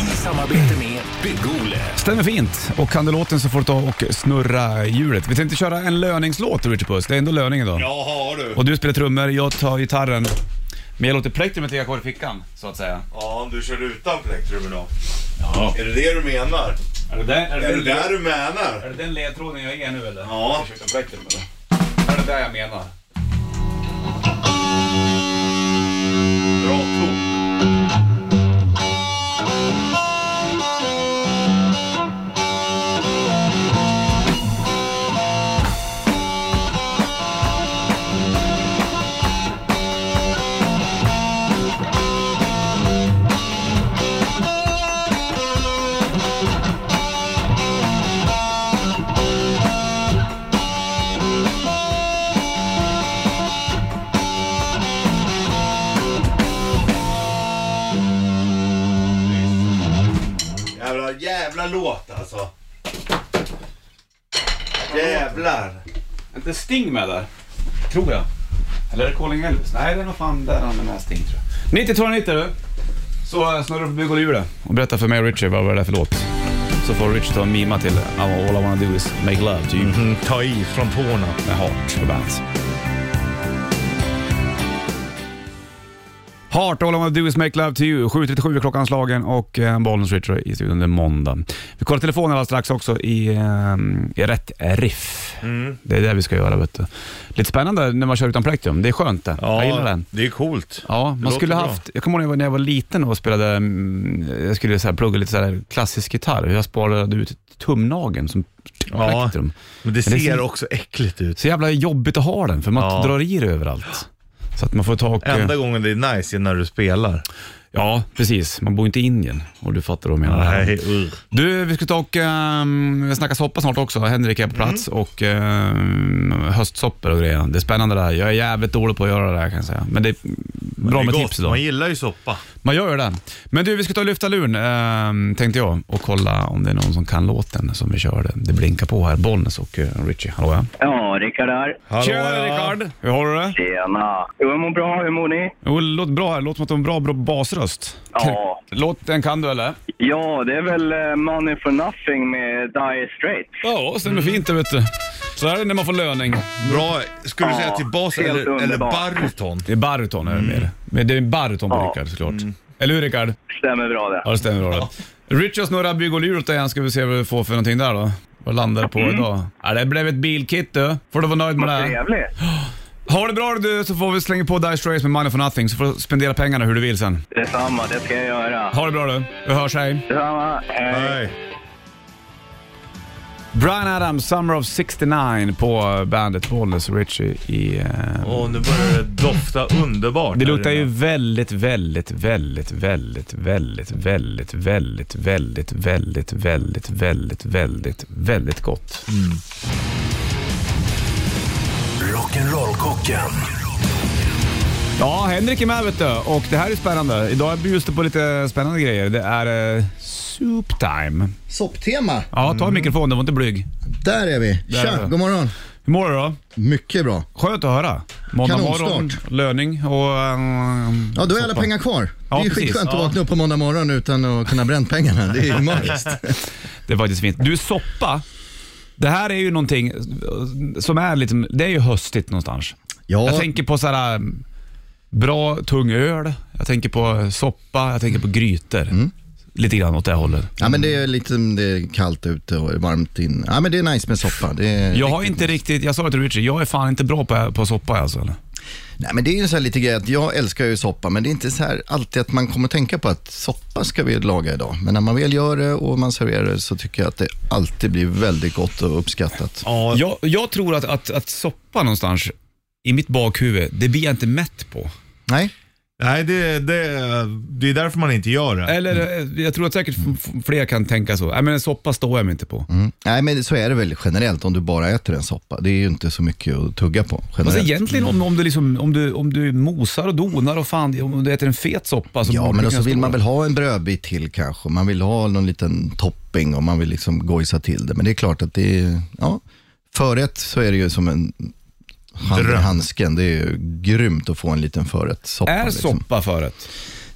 Speaker 1: I samarbete med Bygg-Ole.
Speaker 2: Stämmer fint. Och kan du låten så får du ta och snurra hjulet. Vi tänkte köra en löningslåt, Richard Puss. Det är ändå löning idag.
Speaker 3: har du.
Speaker 2: Och du spelar trummor, jag tar gitarren. Men jag låter plektrumet ligga kvar i fickan, så att säga.
Speaker 3: Ja, du kör utan plektrum idag. Är det det du menar?
Speaker 2: Är det där,
Speaker 3: Är det där du menar?
Speaker 2: är det den ledtråden jag ger nu eller?
Speaker 3: Ja.
Speaker 2: Jag köpte en plektrum eller? Är det där jag menar?
Speaker 3: Bra ton. Jävla, jävla låt alltså. Jävlar.
Speaker 2: Är inte Sting med där? Tror jag. Eller är det Calling Elvis? Nej, det är nog fan där han är med Sting tror jag. 9290 du. Så eh, snurrar du på bygg och hjulet. Och berätta för mig och Richard vad det är för låt. Så får Richard ta en mima till All I wanna do is make love to you.
Speaker 3: Mm, ta i från tårna.
Speaker 2: med Heart på bandet. Heart, All I wanna do is make love to you. 7.37 är klockan slagen och eh, Bollnäs Richard i studion den måndag. Vi kollar telefonen alldeles strax också i, eh, i rätt riff.
Speaker 3: Mm.
Speaker 2: Det är det vi ska göra vet du. Lite spännande när man kör utan plektrum. Det är skönt det. Jag gillar den.
Speaker 3: det är coolt.
Speaker 2: Ja, man
Speaker 3: låter
Speaker 2: skulle
Speaker 3: bra.
Speaker 2: haft, jag kommer ihåg när jag var- när jag var liten och spelade, mm, jag skulle så här plugga lite så här klassisk gitarr. Jag sparade ut tumnageln som
Speaker 3: Ja.
Speaker 2: plektrum.
Speaker 3: Men det
Speaker 2: Men
Speaker 3: ser
Speaker 2: det ser-
Speaker 3: också äckligt ut.
Speaker 2: Så jävla jobbigt att ha den, för man
Speaker 3: Ja.
Speaker 2: drar i det överallt. Så att man får ta och... eh,
Speaker 3: Enda gången det är nice är när du spelar.
Speaker 2: Ja, precis. Man bor inte i Indien. Och du fattar vad jag menar.
Speaker 3: ur.
Speaker 2: Du, vi ska ta och um, snacka soppa snart också. Henrik är på plats
Speaker 3: Mm.
Speaker 2: och um, höstsoppor och grejer. Det är spännande det här. Jag är jävligt dålig på att göra det här kan jag säga. Men det är bra
Speaker 3: Det är
Speaker 2: med
Speaker 3: gott.
Speaker 2: tips
Speaker 3: Man
Speaker 2: idag.
Speaker 3: gillar ju soppa.
Speaker 2: Man gör ju det. Men du, vi ska ta och lyfta luren ehm, tänkte jag och kolla om det är någon som kan låten som vi körde. Det blinkar på här. Bollnäs och eh, Richie. Hallå ja.
Speaker 6: Ja, Rickard här.
Speaker 2: Tjena Rickard! Hur har du det?
Speaker 6: Tjena. Jo, jag mår bra. Hur mår ni?
Speaker 2: Jo, det låter bra här. Det låter som att du har en bra, bra basröst.
Speaker 6: Ja.
Speaker 2: Låten kan du eller?
Speaker 6: Ja, det är väl eh, Money for Nothing med Dire Straits.
Speaker 2: Ja, stämmer
Speaker 6: Mm.
Speaker 2: fint det vet du. Så här är det när man får löning.
Speaker 3: Bra. Skulle du
Speaker 6: Ja,
Speaker 3: säga till bas
Speaker 6: helt
Speaker 3: eller, eller
Speaker 6: underbart.
Speaker 3: baryton?
Speaker 2: Det är baryton är det mer. Men det är en baryton på
Speaker 6: Mm. Ja. Mm.
Speaker 2: Rickard såklart. Eller hur Rickard?
Speaker 6: Stämmer bra det.
Speaker 2: Ja, det stämmer bra det. Richard snurrar bygg och lur åt dig igen ska vi se vad du får för någonting där då. Vad landar det på
Speaker 6: Mm.
Speaker 2: idag? Ja, det blev ett bilkit du. Får du vara nöjd med det.
Speaker 6: Vad
Speaker 2: här.
Speaker 6: trevligt.
Speaker 2: Ha det bra du så får vi slänga på Dice Straits med Money for Nothing så får du spendera pengarna hur du vill sen.
Speaker 6: Detsamma, det ska jag göra.
Speaker 2: Ha det bra du. Vi hörs, hej.
Speaker 6: Detsamma. Hej.
Speaker 3: Nej.
Speaker 2: Brian Adams, Summer of 69 på bandet Bollnäs och Richie i... eh,
Speaker 3: Åh, nu börjar det dofta underbart.
Speaker 2: Det
Speaker 3: här
Speaker 2: luktar ju
Speaker 3: inne.
Speaker 2: väldigt, väldigt, väldigt, väldigt, väldigt, väldigt, väldigt, väldigt, väldigt, väldigt, väldigt, väldigt, väldigt gott.
Speaker 5: Rock'n'roll-kocken.
Speaker 2: Ja, Henrik är med vet du och det här är spännande. Idag bjuds det på lite spännande grejer. Det är eh, soup time.
Speaker 7: Sopptema,
Speaker 2: Ja, ta mikrofonen, var inte blyg.
Speaker 7: där är vi.
Speaker 2: Där är
Speaker 7: Tja,
Speaker 2: vi.
Speaker 7: god morgon.
Speaker 2: Hur mår du då?
Speaker 7: Mycket bra.
Speaker 2: Skönt att höra. Måndag morgon,
Speaker 7: Kanonstart.
Speaker 2: löning och... ehm,
Speaker 7: Ja, då är alla
Speaker 2: soppa.
Speaker 7: pengar kvar.
Speaker 2: Ja,
Speaker 7: det är ju
Speaker 2: precis.
Speaker 7: skitskönt
Speaker 2: Ja.
Speaker 7: att vakna upp på måndag morgon utan att kunna ha bränt pengarna. Det är ju magiskt.
Speaker 2: Det är faktiskt fint. Du, soppa. Det här är ju någonting eh, som är lite, det är ju höstigt någonstans.
Speaker 7: Ja,
Speaker 2: Jag tänker på sådär eh, bra tung öl, jag tänker på eh, soppa, jag tänker på grytor. Lite grann åt det hållet.
Speaker 7: ja, men det är lite det är kallt ute och varmt in. Ja, men det är nice med soppa. Det är
Speaker 2: Jag har inte riktigt, jag sa det till Richard, jag är fan inte bra på, på soppa alltså. Eller?
Speaker 7: Nej, men det är ju så här lite grej att jag älskar ju soppa, men det är inte så här alltid att man kommer att tänka på att soppa ska vi laga idag. Men när man väl gör det och man serverar det så tycker jag att det alltid blir väldigt gott och uppskattat.
Speaker 3: Ja,
Speaker 2: Jag, jag tror att, att, att soppa någonstans, i mitt bakhuvud, det blir jag inte mätt på.
Speaker 7: Nej,
Speaker 3: nej, det, det, det är därför man inte gör det.
Speaker 2: Eller eh, jag tror att säkert f- f- fler kan tänka så. Nej men en soppa står jag mig inte på.
Speaker 7: mm. Nej men så är det väl generellt om du bara äter en soppa. Det är ju inte så mycket att tugga på
Speaker 2: Fast
Speaker 7: generellt.
Speaker 2: egentligen om, om, du liksom, om, du, om du mosar och donar och fan, om du äter en fet soppa så
Speaker 7: Ja,
Speaker 2: borde
Speaker 7: men
Speaker 2: det
Speaker 7: och så
Speaker 2: kunna
Speaker 7: vill
Speaker 2: stå
Speaker 7: man
Speaker 2: där.
Speaker 7: väl ha en brödbit till kanske. Man vill ha någon liten topping och man vill liksom gojsa till det. Men det är klart att det är, ja, förrätt så är det ju som en hand i
Speaker 3: Dröm.
Speaker 7: handsken. Det är ju grymt att få en liten förrätt. Soppa,
Speaker 2: Är
Speaker 7: liksom.
Speaker 2: soppa förrätt?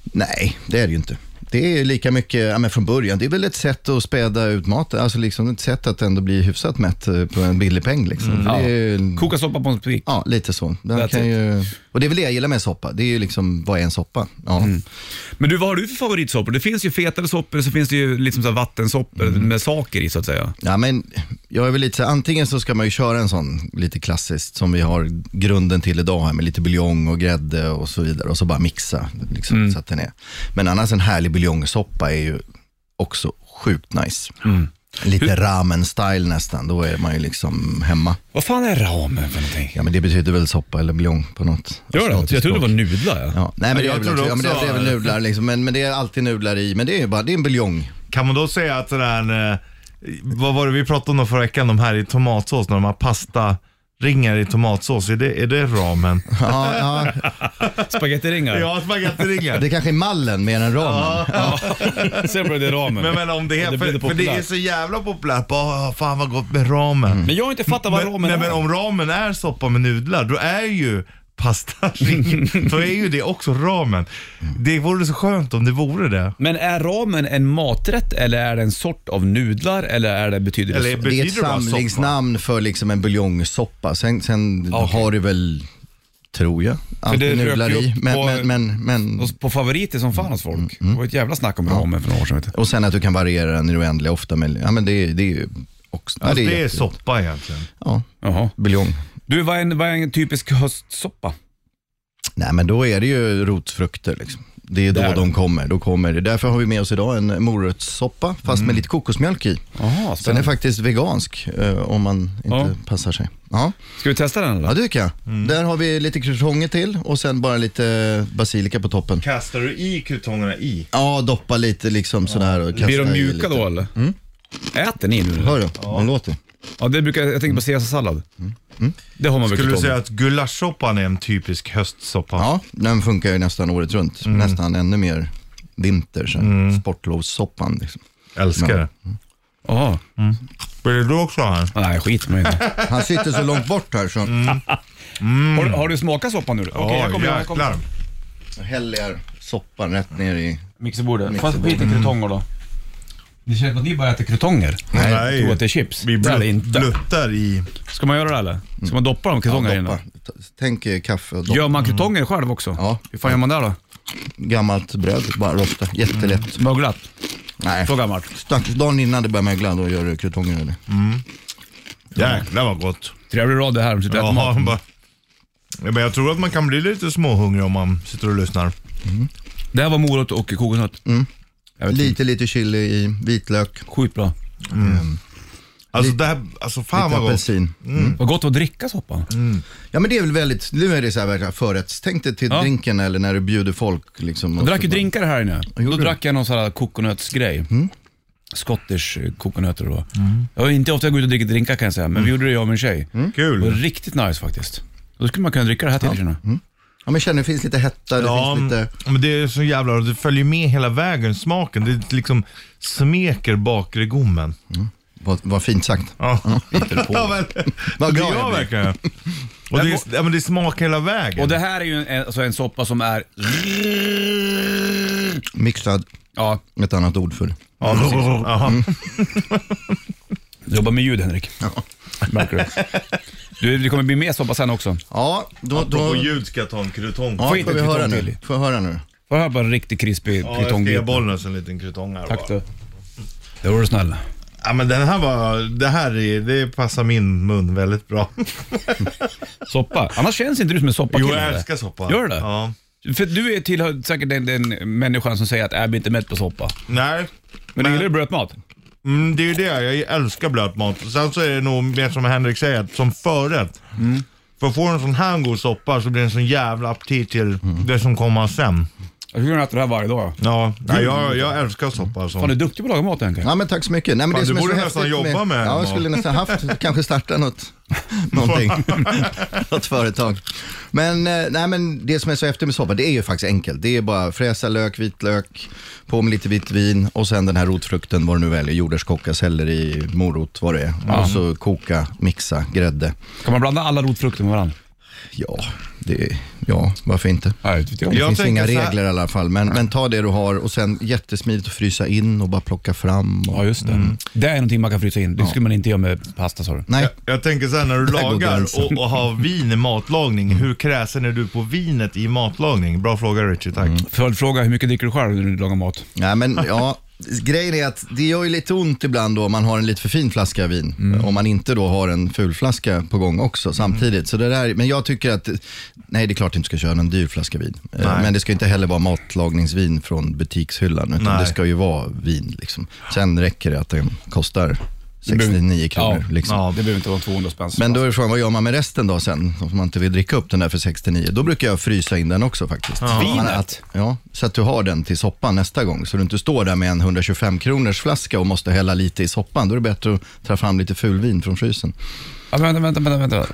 Speaker 7: Nej, det är det ju inte. Det är ju lika mycket ja, men från början. Det är väl ett sätt att späda ut maten. Alltså liksom ett sätt att ändå bli hyfsat mätt eh, på en billig peng. Liksom. För
Speaker 2: Mm. Ja.
Speaker 7: Det är ju,
Speaker 2: Koka soppa på en spik?
Speaker 7: Ja, lite så.
Speaker 2: That's
Speaker 7: Den kan
Speaker 2: it.
Speaker 7: ju, och det är väl det jag gillar med soppa. Det är ju liksom, vad är en soppa? Ja.
Speaker 2: Mm. Men du, vad har du för favoritsoppor? Det finns ju fetare soppor, så finns det ju liksom så här vattensoppor med saker i så att säga.
Speaker 7: Ja, men jag är väl lite så här, antingen så ska man ju köra en sån lite klassiskt som vi har grunden till idag här med lite buljong och grädde och så vidare och så bara mixa liksom, så att den är. Men annars en härlig buljongsoppa är ju också sjukt nice. Lite ramen-style nästan, då är man ju liksom hemma.
Speaker 2: Vad fan är ramen för någonting?
Speaker 7: Ja, men det betyder väl soppa eller buljong på något.
Speaker 2: Gör det? Jag
Speaker 7: asiatiskt
Speaker 2: trodde det
Speaker 7: språk.
Speaker 2: var nudlar. Ja.
Speaker 7: Ja, nej men det
Speaker 3: Jag
Speaker 7: är väl
Speaker 3: trodde
Speaker 7: också, ja, men det
Speaker 3: också-
Speaker 7: är väl nudlar liksom, men, men det är alltid nudlar i, men det är ju bara, det är en buljong.
Speaker 3: Kan man då säga att sådär, eh, vad var det vi pratade om då förra veckan, de här i tomatsås, när de har pasta ringar i tomatsås, är det, är det ramen?
Speaker 7: Ja, ja,
Speaker 2: Spagettiringar?
Speaker 3: Ja, spagettiringar.
Speaker 7: det kanske är mallen mer än ramen.
Speaker 2: Sen blev det ramen.
Speaker 3: Men, men om det är,
Speaker 2: Det blir
Speaker 3: för,
Speaker 2: det
Speaker 3: för det är
Speaker 2: populärt.
Speaker 3: så jävla populärt, bara, "Åh, fan vad gott med ramen.
Speaker 2: Men jag har inte fattat vad
Speaker 3: Men-
Speaker 2: ramen
Speaker 3: nej,
Speaker 2: är.
Speaker 3: men om ramen är soppa med nudlar, då är ju pasta ringar, då är ju det också ramen.
Speaker 2: Mm.
Speaker 3: Det vore så skönt om det vore det.
Speaker 2: Men är ramen en maträtt eller är det en sort av nudlar eller är det betyder det
Speaker 3: Eller
Speaker 2: så?
Speaker 7: Det är
Speaker 3: betyder
Speaker 7: ett
Speaker 3: det bara soppa?
Speaker 7: samlingsnamn för liksom en buljongsoppa. Sen, sen
Speaker 2: Ah, Okej.
Speaker 7: har du väl, tror jag,
Speaker 2: det
Speaker 7: alltid
Speaker 2: rök
Speaker 7: nudlar
Speaker 2: ju
Speaker 7: i.
Speaker 2: upp
Speaker 7: Men,
Speaker 2: på-
Speaker 7: men, men, men,
Speaker 2: Och På favoriter som fan hos folk. Det var ett jävla snack om ramen för några år sedan. Vet du.
Speaker 7: och sen att du kan variera den i det oändliga ofta. Men, ja, men det, är- det är ju också... ja,
Speaker 3: Alltså, det är
Speaker 7: jättegott.
Speaker 3: soppa egentligen.
Speaker 7: Ja,
Speaker 2: Jaha.
Speaker 7: buljong.
Speaker 2: Du, vad är en, vad är en typisk höstsoppa?
Speaker 7: Nej, men då är det ju rotfrukter liksom. Det är då
Speaker 2: Där.
Speaker 7: de kommer. Då kommer det. Därför har vi med oss idag en morotssoppa, fast med lite kokosmjölk i.
Speaker 2: Jaha,
Speaker 7: Den är
Speaker 2: Mm. spännande.
Speaker 7: faktiskt vegansk, eh, om man inte
Speaker 2: Ja. Mm.
Speaker 7: passar sig. Ja.
Speaker 2: Ska vi testa den eller?
Speaker 7: Ja, det tycker jag. Där har vi lite krutonger till och sen bara lite basilika på toppen.
Speaker 3: Kastar du i kutongerna i?
Speaker 7: Ja, doppa lite liksom sådär och kasta
Speaker 2: Blir de
Speaker 7: i
Speaker 2: mjuka
Speaker 7: lite.
Speaker 2: då eller? Äter ni nu? eller?
Speaker 7: Hör du? De låter.
Speaker 2: Ja, det brukar, jag tänker på caesarsallad. Det har man väl
Speaker 3: Skulle du
Speaker 2: förstått.
Speaker 3: säga att gulaschsoppan är en typisk höstsoppa?
Speaker 7: Ja, den funkar ju nästan året runt.
Speaker 2: Mm.
Speaker 7: Nästan ännu mer vinter sen. Sportlovssoppan liksom.
Speaker 3: Älskar det.
Speaker 2: Jaha.
Speaker 3: Vill du också ha en?
Speaker 2: Nej, skit med det.
Speaker 7: Han sitter så långt bort här så
Speaker 2: Mm. Har, har du smakat soppan nu? Okej, jag kommer. Jag kommer.
Speaker 3: jäklar.
Speaker 7: häller jag soppan rätt ner i...
Speaker 2: Mixerbordet. Fast skit i krutonger då. Det känns som att ni bara äter krutonger.
Speaker 3: Nej,
Speaker 2: Jag tror att det är chips.
Speaker 3: Vi
Speaker 2: det är det
Speaker 3: blut-
Speaker 2: inte.
Speaker 3: bluttar i.
Speaker 2: Ska man göra det eller? Ska man doppa dem
Speaker 7: Ja,
Speaker 2: krutonger i
Speaker 7: doppa.
Speaker 2: den?
Speaker 7: Ta- Tänk eh, kaffe och dopp.
Speaker 2: Gör man krutonger själv också?
Speaker 7: Ja.
Speaker 2: Hur fan gör man det då?
Speaker 7: Gammalt bröd, bara rosta.
Speaker 2: Mm.
Speaker 7: Jättelätt.
Speaker 2: Möglat?
Speaker 7: Nej.
Speaker 2: Så gammalt?
Speaker 7: Stackars dagen innan det börjar mögla, då gör du krutonger eller?
Speaker 3: Jäklar vad gott.
Speaker 2: Trevlig rad det här. De sitter och äter
Speaker 3: Jaha,
Speaker 2: mat.
Speaker 3: bara. Ja, men jag tror att man kan bli lite småhungrig om man sitter och lyssnar.
Speaker 2: Det här var morot och
Speaker 3: Mm.
Speaker 2: kokosnöt. Jag vet inte.
Speaker 7: Lite, lite chili i, vitlök.
Speaker 2: Sjukt bra.
Speaker 3: Alltså, det här, alltså fan vad
Speaker 7: Lite
Speaker 3: gott.
Speaker 7: apelsin.
Speaker 2: Vad gott att dricka soppan.
Speaker 3: Mm.
Speaker 7: Ja men det är väl väldigt, nu är det så här verkligen förrätt. Tänk dig till
Speaker 2: Ja.
Speaker 7: drinken eller när du bjuder folk. Liksom,
Speaker 2: Jag drack ju
Speaker 7: Och så bara-
Speaker 2: drinkar här inne. Då
Speaker 7: gjorde du?
Speaker 2: drack jag någon sån här kokonötsgrej.
Speaker 3: Mm.
Speaker 2: Scottish eh, kokonötter då. Jag har inte ofta gått ut och dricker drinkar kan jag säga, men
Speaker 3: Mm.
Speaker 2: vi gjorde det jag och min tjej. Det var
Speaker 3: Kul.
Speaker 2: riktigt nice faktiskt. Då skulle man kunna dricka det här till känner jag.
Speaker 3: Mm.
Speaker 7: Ja men känner det finns lite hetta, det
Speaker 3: Ja,
Speaker 7: finns lite...
Speaker 3: men det är så jävla Det följer med hela vägen, smaken. Det liksom smeker bakre gommen.
Speaker 7: Vad, vad fint sagt.
Speaker 3: Ja. Ja, men,
Speaker 7: Vad
Speaker 3: det
Speaker 7: glad
Speaker 3: gör
Speaker 7: jag blir.
Speaker 3: verkligen. Och det, är- ja, men det smakar hela vägen.
Speaker 2: Och det här är ju en, alltså en soppa som är...
Speaker 7: Mixad,
Speaker 2: Ja,
Speaker 7: ett annat ord för det.
Speaker 3: ja, precis. Jaha.
Speaker 2: jobba med ljud Henrik. Märker du. du? Det kommer bli mer soppa sen också.
Speaker 7: Ja, då... då
Speaker 3: På ljud ska jag ta en krutong.
Speaker 7: ja,
Speaker 2: Få
Speaker 7: får
Speaker 2: in
Speaker 7: vi
Speaker 2: ett
Speaker 7: höra
Speaker 2: kryddor
Speaker 7: nu?
Speaker 2: till.
Speaker 7: Får jag höra nu?
Speaker 2: Får jag höra på en riktigt krispig
Speaker 3: Ja, jag ska ge
Speaker 2: kritongbiff?
Speaker 3: bollen en liten krutong här
Speaker 2: Tack
Speaker 3: bara.
Speaker 2: du. Det var du snäll.
Speaker 3: Ja, men den här var, det här är, det passar min mun väldigt bra.
Speaker 2: Soppa. Annars känns inte du som en soppakille.
Speaker 3: Jo, jag
Speaker 2: eller?
Speaker 3: älskar soppa.
Speaker 2: Gör du det?
Speaker 3: Ja.
Speaker 2: För du är tillhör säkert den, den människan som säger att jag blir inte mätt på soppa.
Speaker 3: Nej,
Speaker 2: Men, du gillar ju brödmat.
Speaker 3: mm, det är ju det. Jag älskar blöt mat. Sen så är det nog mer som Henrik säger, att som förrätt. För får du en sån här god soppa så blir det en sån jävla aptit till det som kommer sen.
Speaker 2: Jag skulle kunna äta det här varje dag.
Speaker 3: Ja, nej, jag, jag älskar soppa alltså.
Speaker 2: Fan, du är duktig på att laga mat Henke.
Speaker 7: Ja men tack så mycket. Nej, men
Speaker 3: Fan,
Speaker 7: det
Speaker 3: du
Speaker 7: som är
Speaker 3: borde
Speaker 7: så
Speaker 3: nästan
Speaker 7: häftigt
Speaker 3: jobba med
Speaker 7: Ja, jag
Speaker 3: mat.
Speaker 7: skulle nästan haft, kanske starta något, någonting. något företag. Men, eh, nej, men det som är så häftigt med soppa, det är ju faktiskt enkelt. Det är bara fräsa lök, vitlök, på med lite vitt vin och sen den här rotfrukten, vad du nu väljer, jordärtskocka, selleri, morot, vad det är. Och så koka, mixa, grädde.
Speaker 2: Kan man blanda alla rotfrukter med varandra?
Speaker 7: Ja, det, ja varför inte?
Speaker 2: Nej, det vet jag.
Speaker 7: Det
Speaker 3: Jag
Speaker 7: finns
Speaker 3: tänker
Speaker 7: inga
Speaker 3: så här-
Speaker 7: regler i alla fall, men, men ta det du har och sen jättesmidigt att frysa in och bara plocka fram. Och,
Speaker 2: Ja, just det. Det är någonting man kan frysa in. Det skulle man inte göra med pasta sa du.
Speaker 7: nej,
Speaker 3: Jag tänker så här när du
Speaker 7: Där går
Speaker 3: lagar
Speaker 7: gränsen.
Speaker 3: och, och har vin i matlagning, hur kräsen är du på vinet i matlagning? Bra fråga Richie, tack.
Speaker 2: Följdfråga, hur mycket dricker du själv när du lagar mat?
Speaker 7: Nej, men ja. Grejen är att det gör ju lite ont ibland då om man har en lite för fin flaska vin. Om man inte då har en ful flaska på gång också samtidigt. Så det där, men jag tycker att, nej det är klart du inte ska köra en dyr flaska vin. Eh, Men det ska ju inte heller vara matlagningsvin från butikshyllan. Utan
Speaker 3: Nej.
Speaker 7: det ska ju vara vin liksom. Sen räcker det att den kostar 69 kronor.
Speaker 2: Ja.
Speaker 7: Liksom.
Speaker 2: Ja, det behöver inte vara 200 spänn.
Speaker 7: Men då är frågan, vad gör man med resten då sen? Om man inte vill dricka upp den där för 69. Då brukar jag frysa in den också faktiskt.
Speaker 2: Vinet?
Speaker 7: Att, ja, så att du har den till soppan nästa gång. Så du inte står där med en 125 kronors flaska och måste hälla lite i soppan. Då är det bättre att ta fram lite fulvin från frysen.
Speaker 2: Ja, vänta, vänta, vänta. vänta.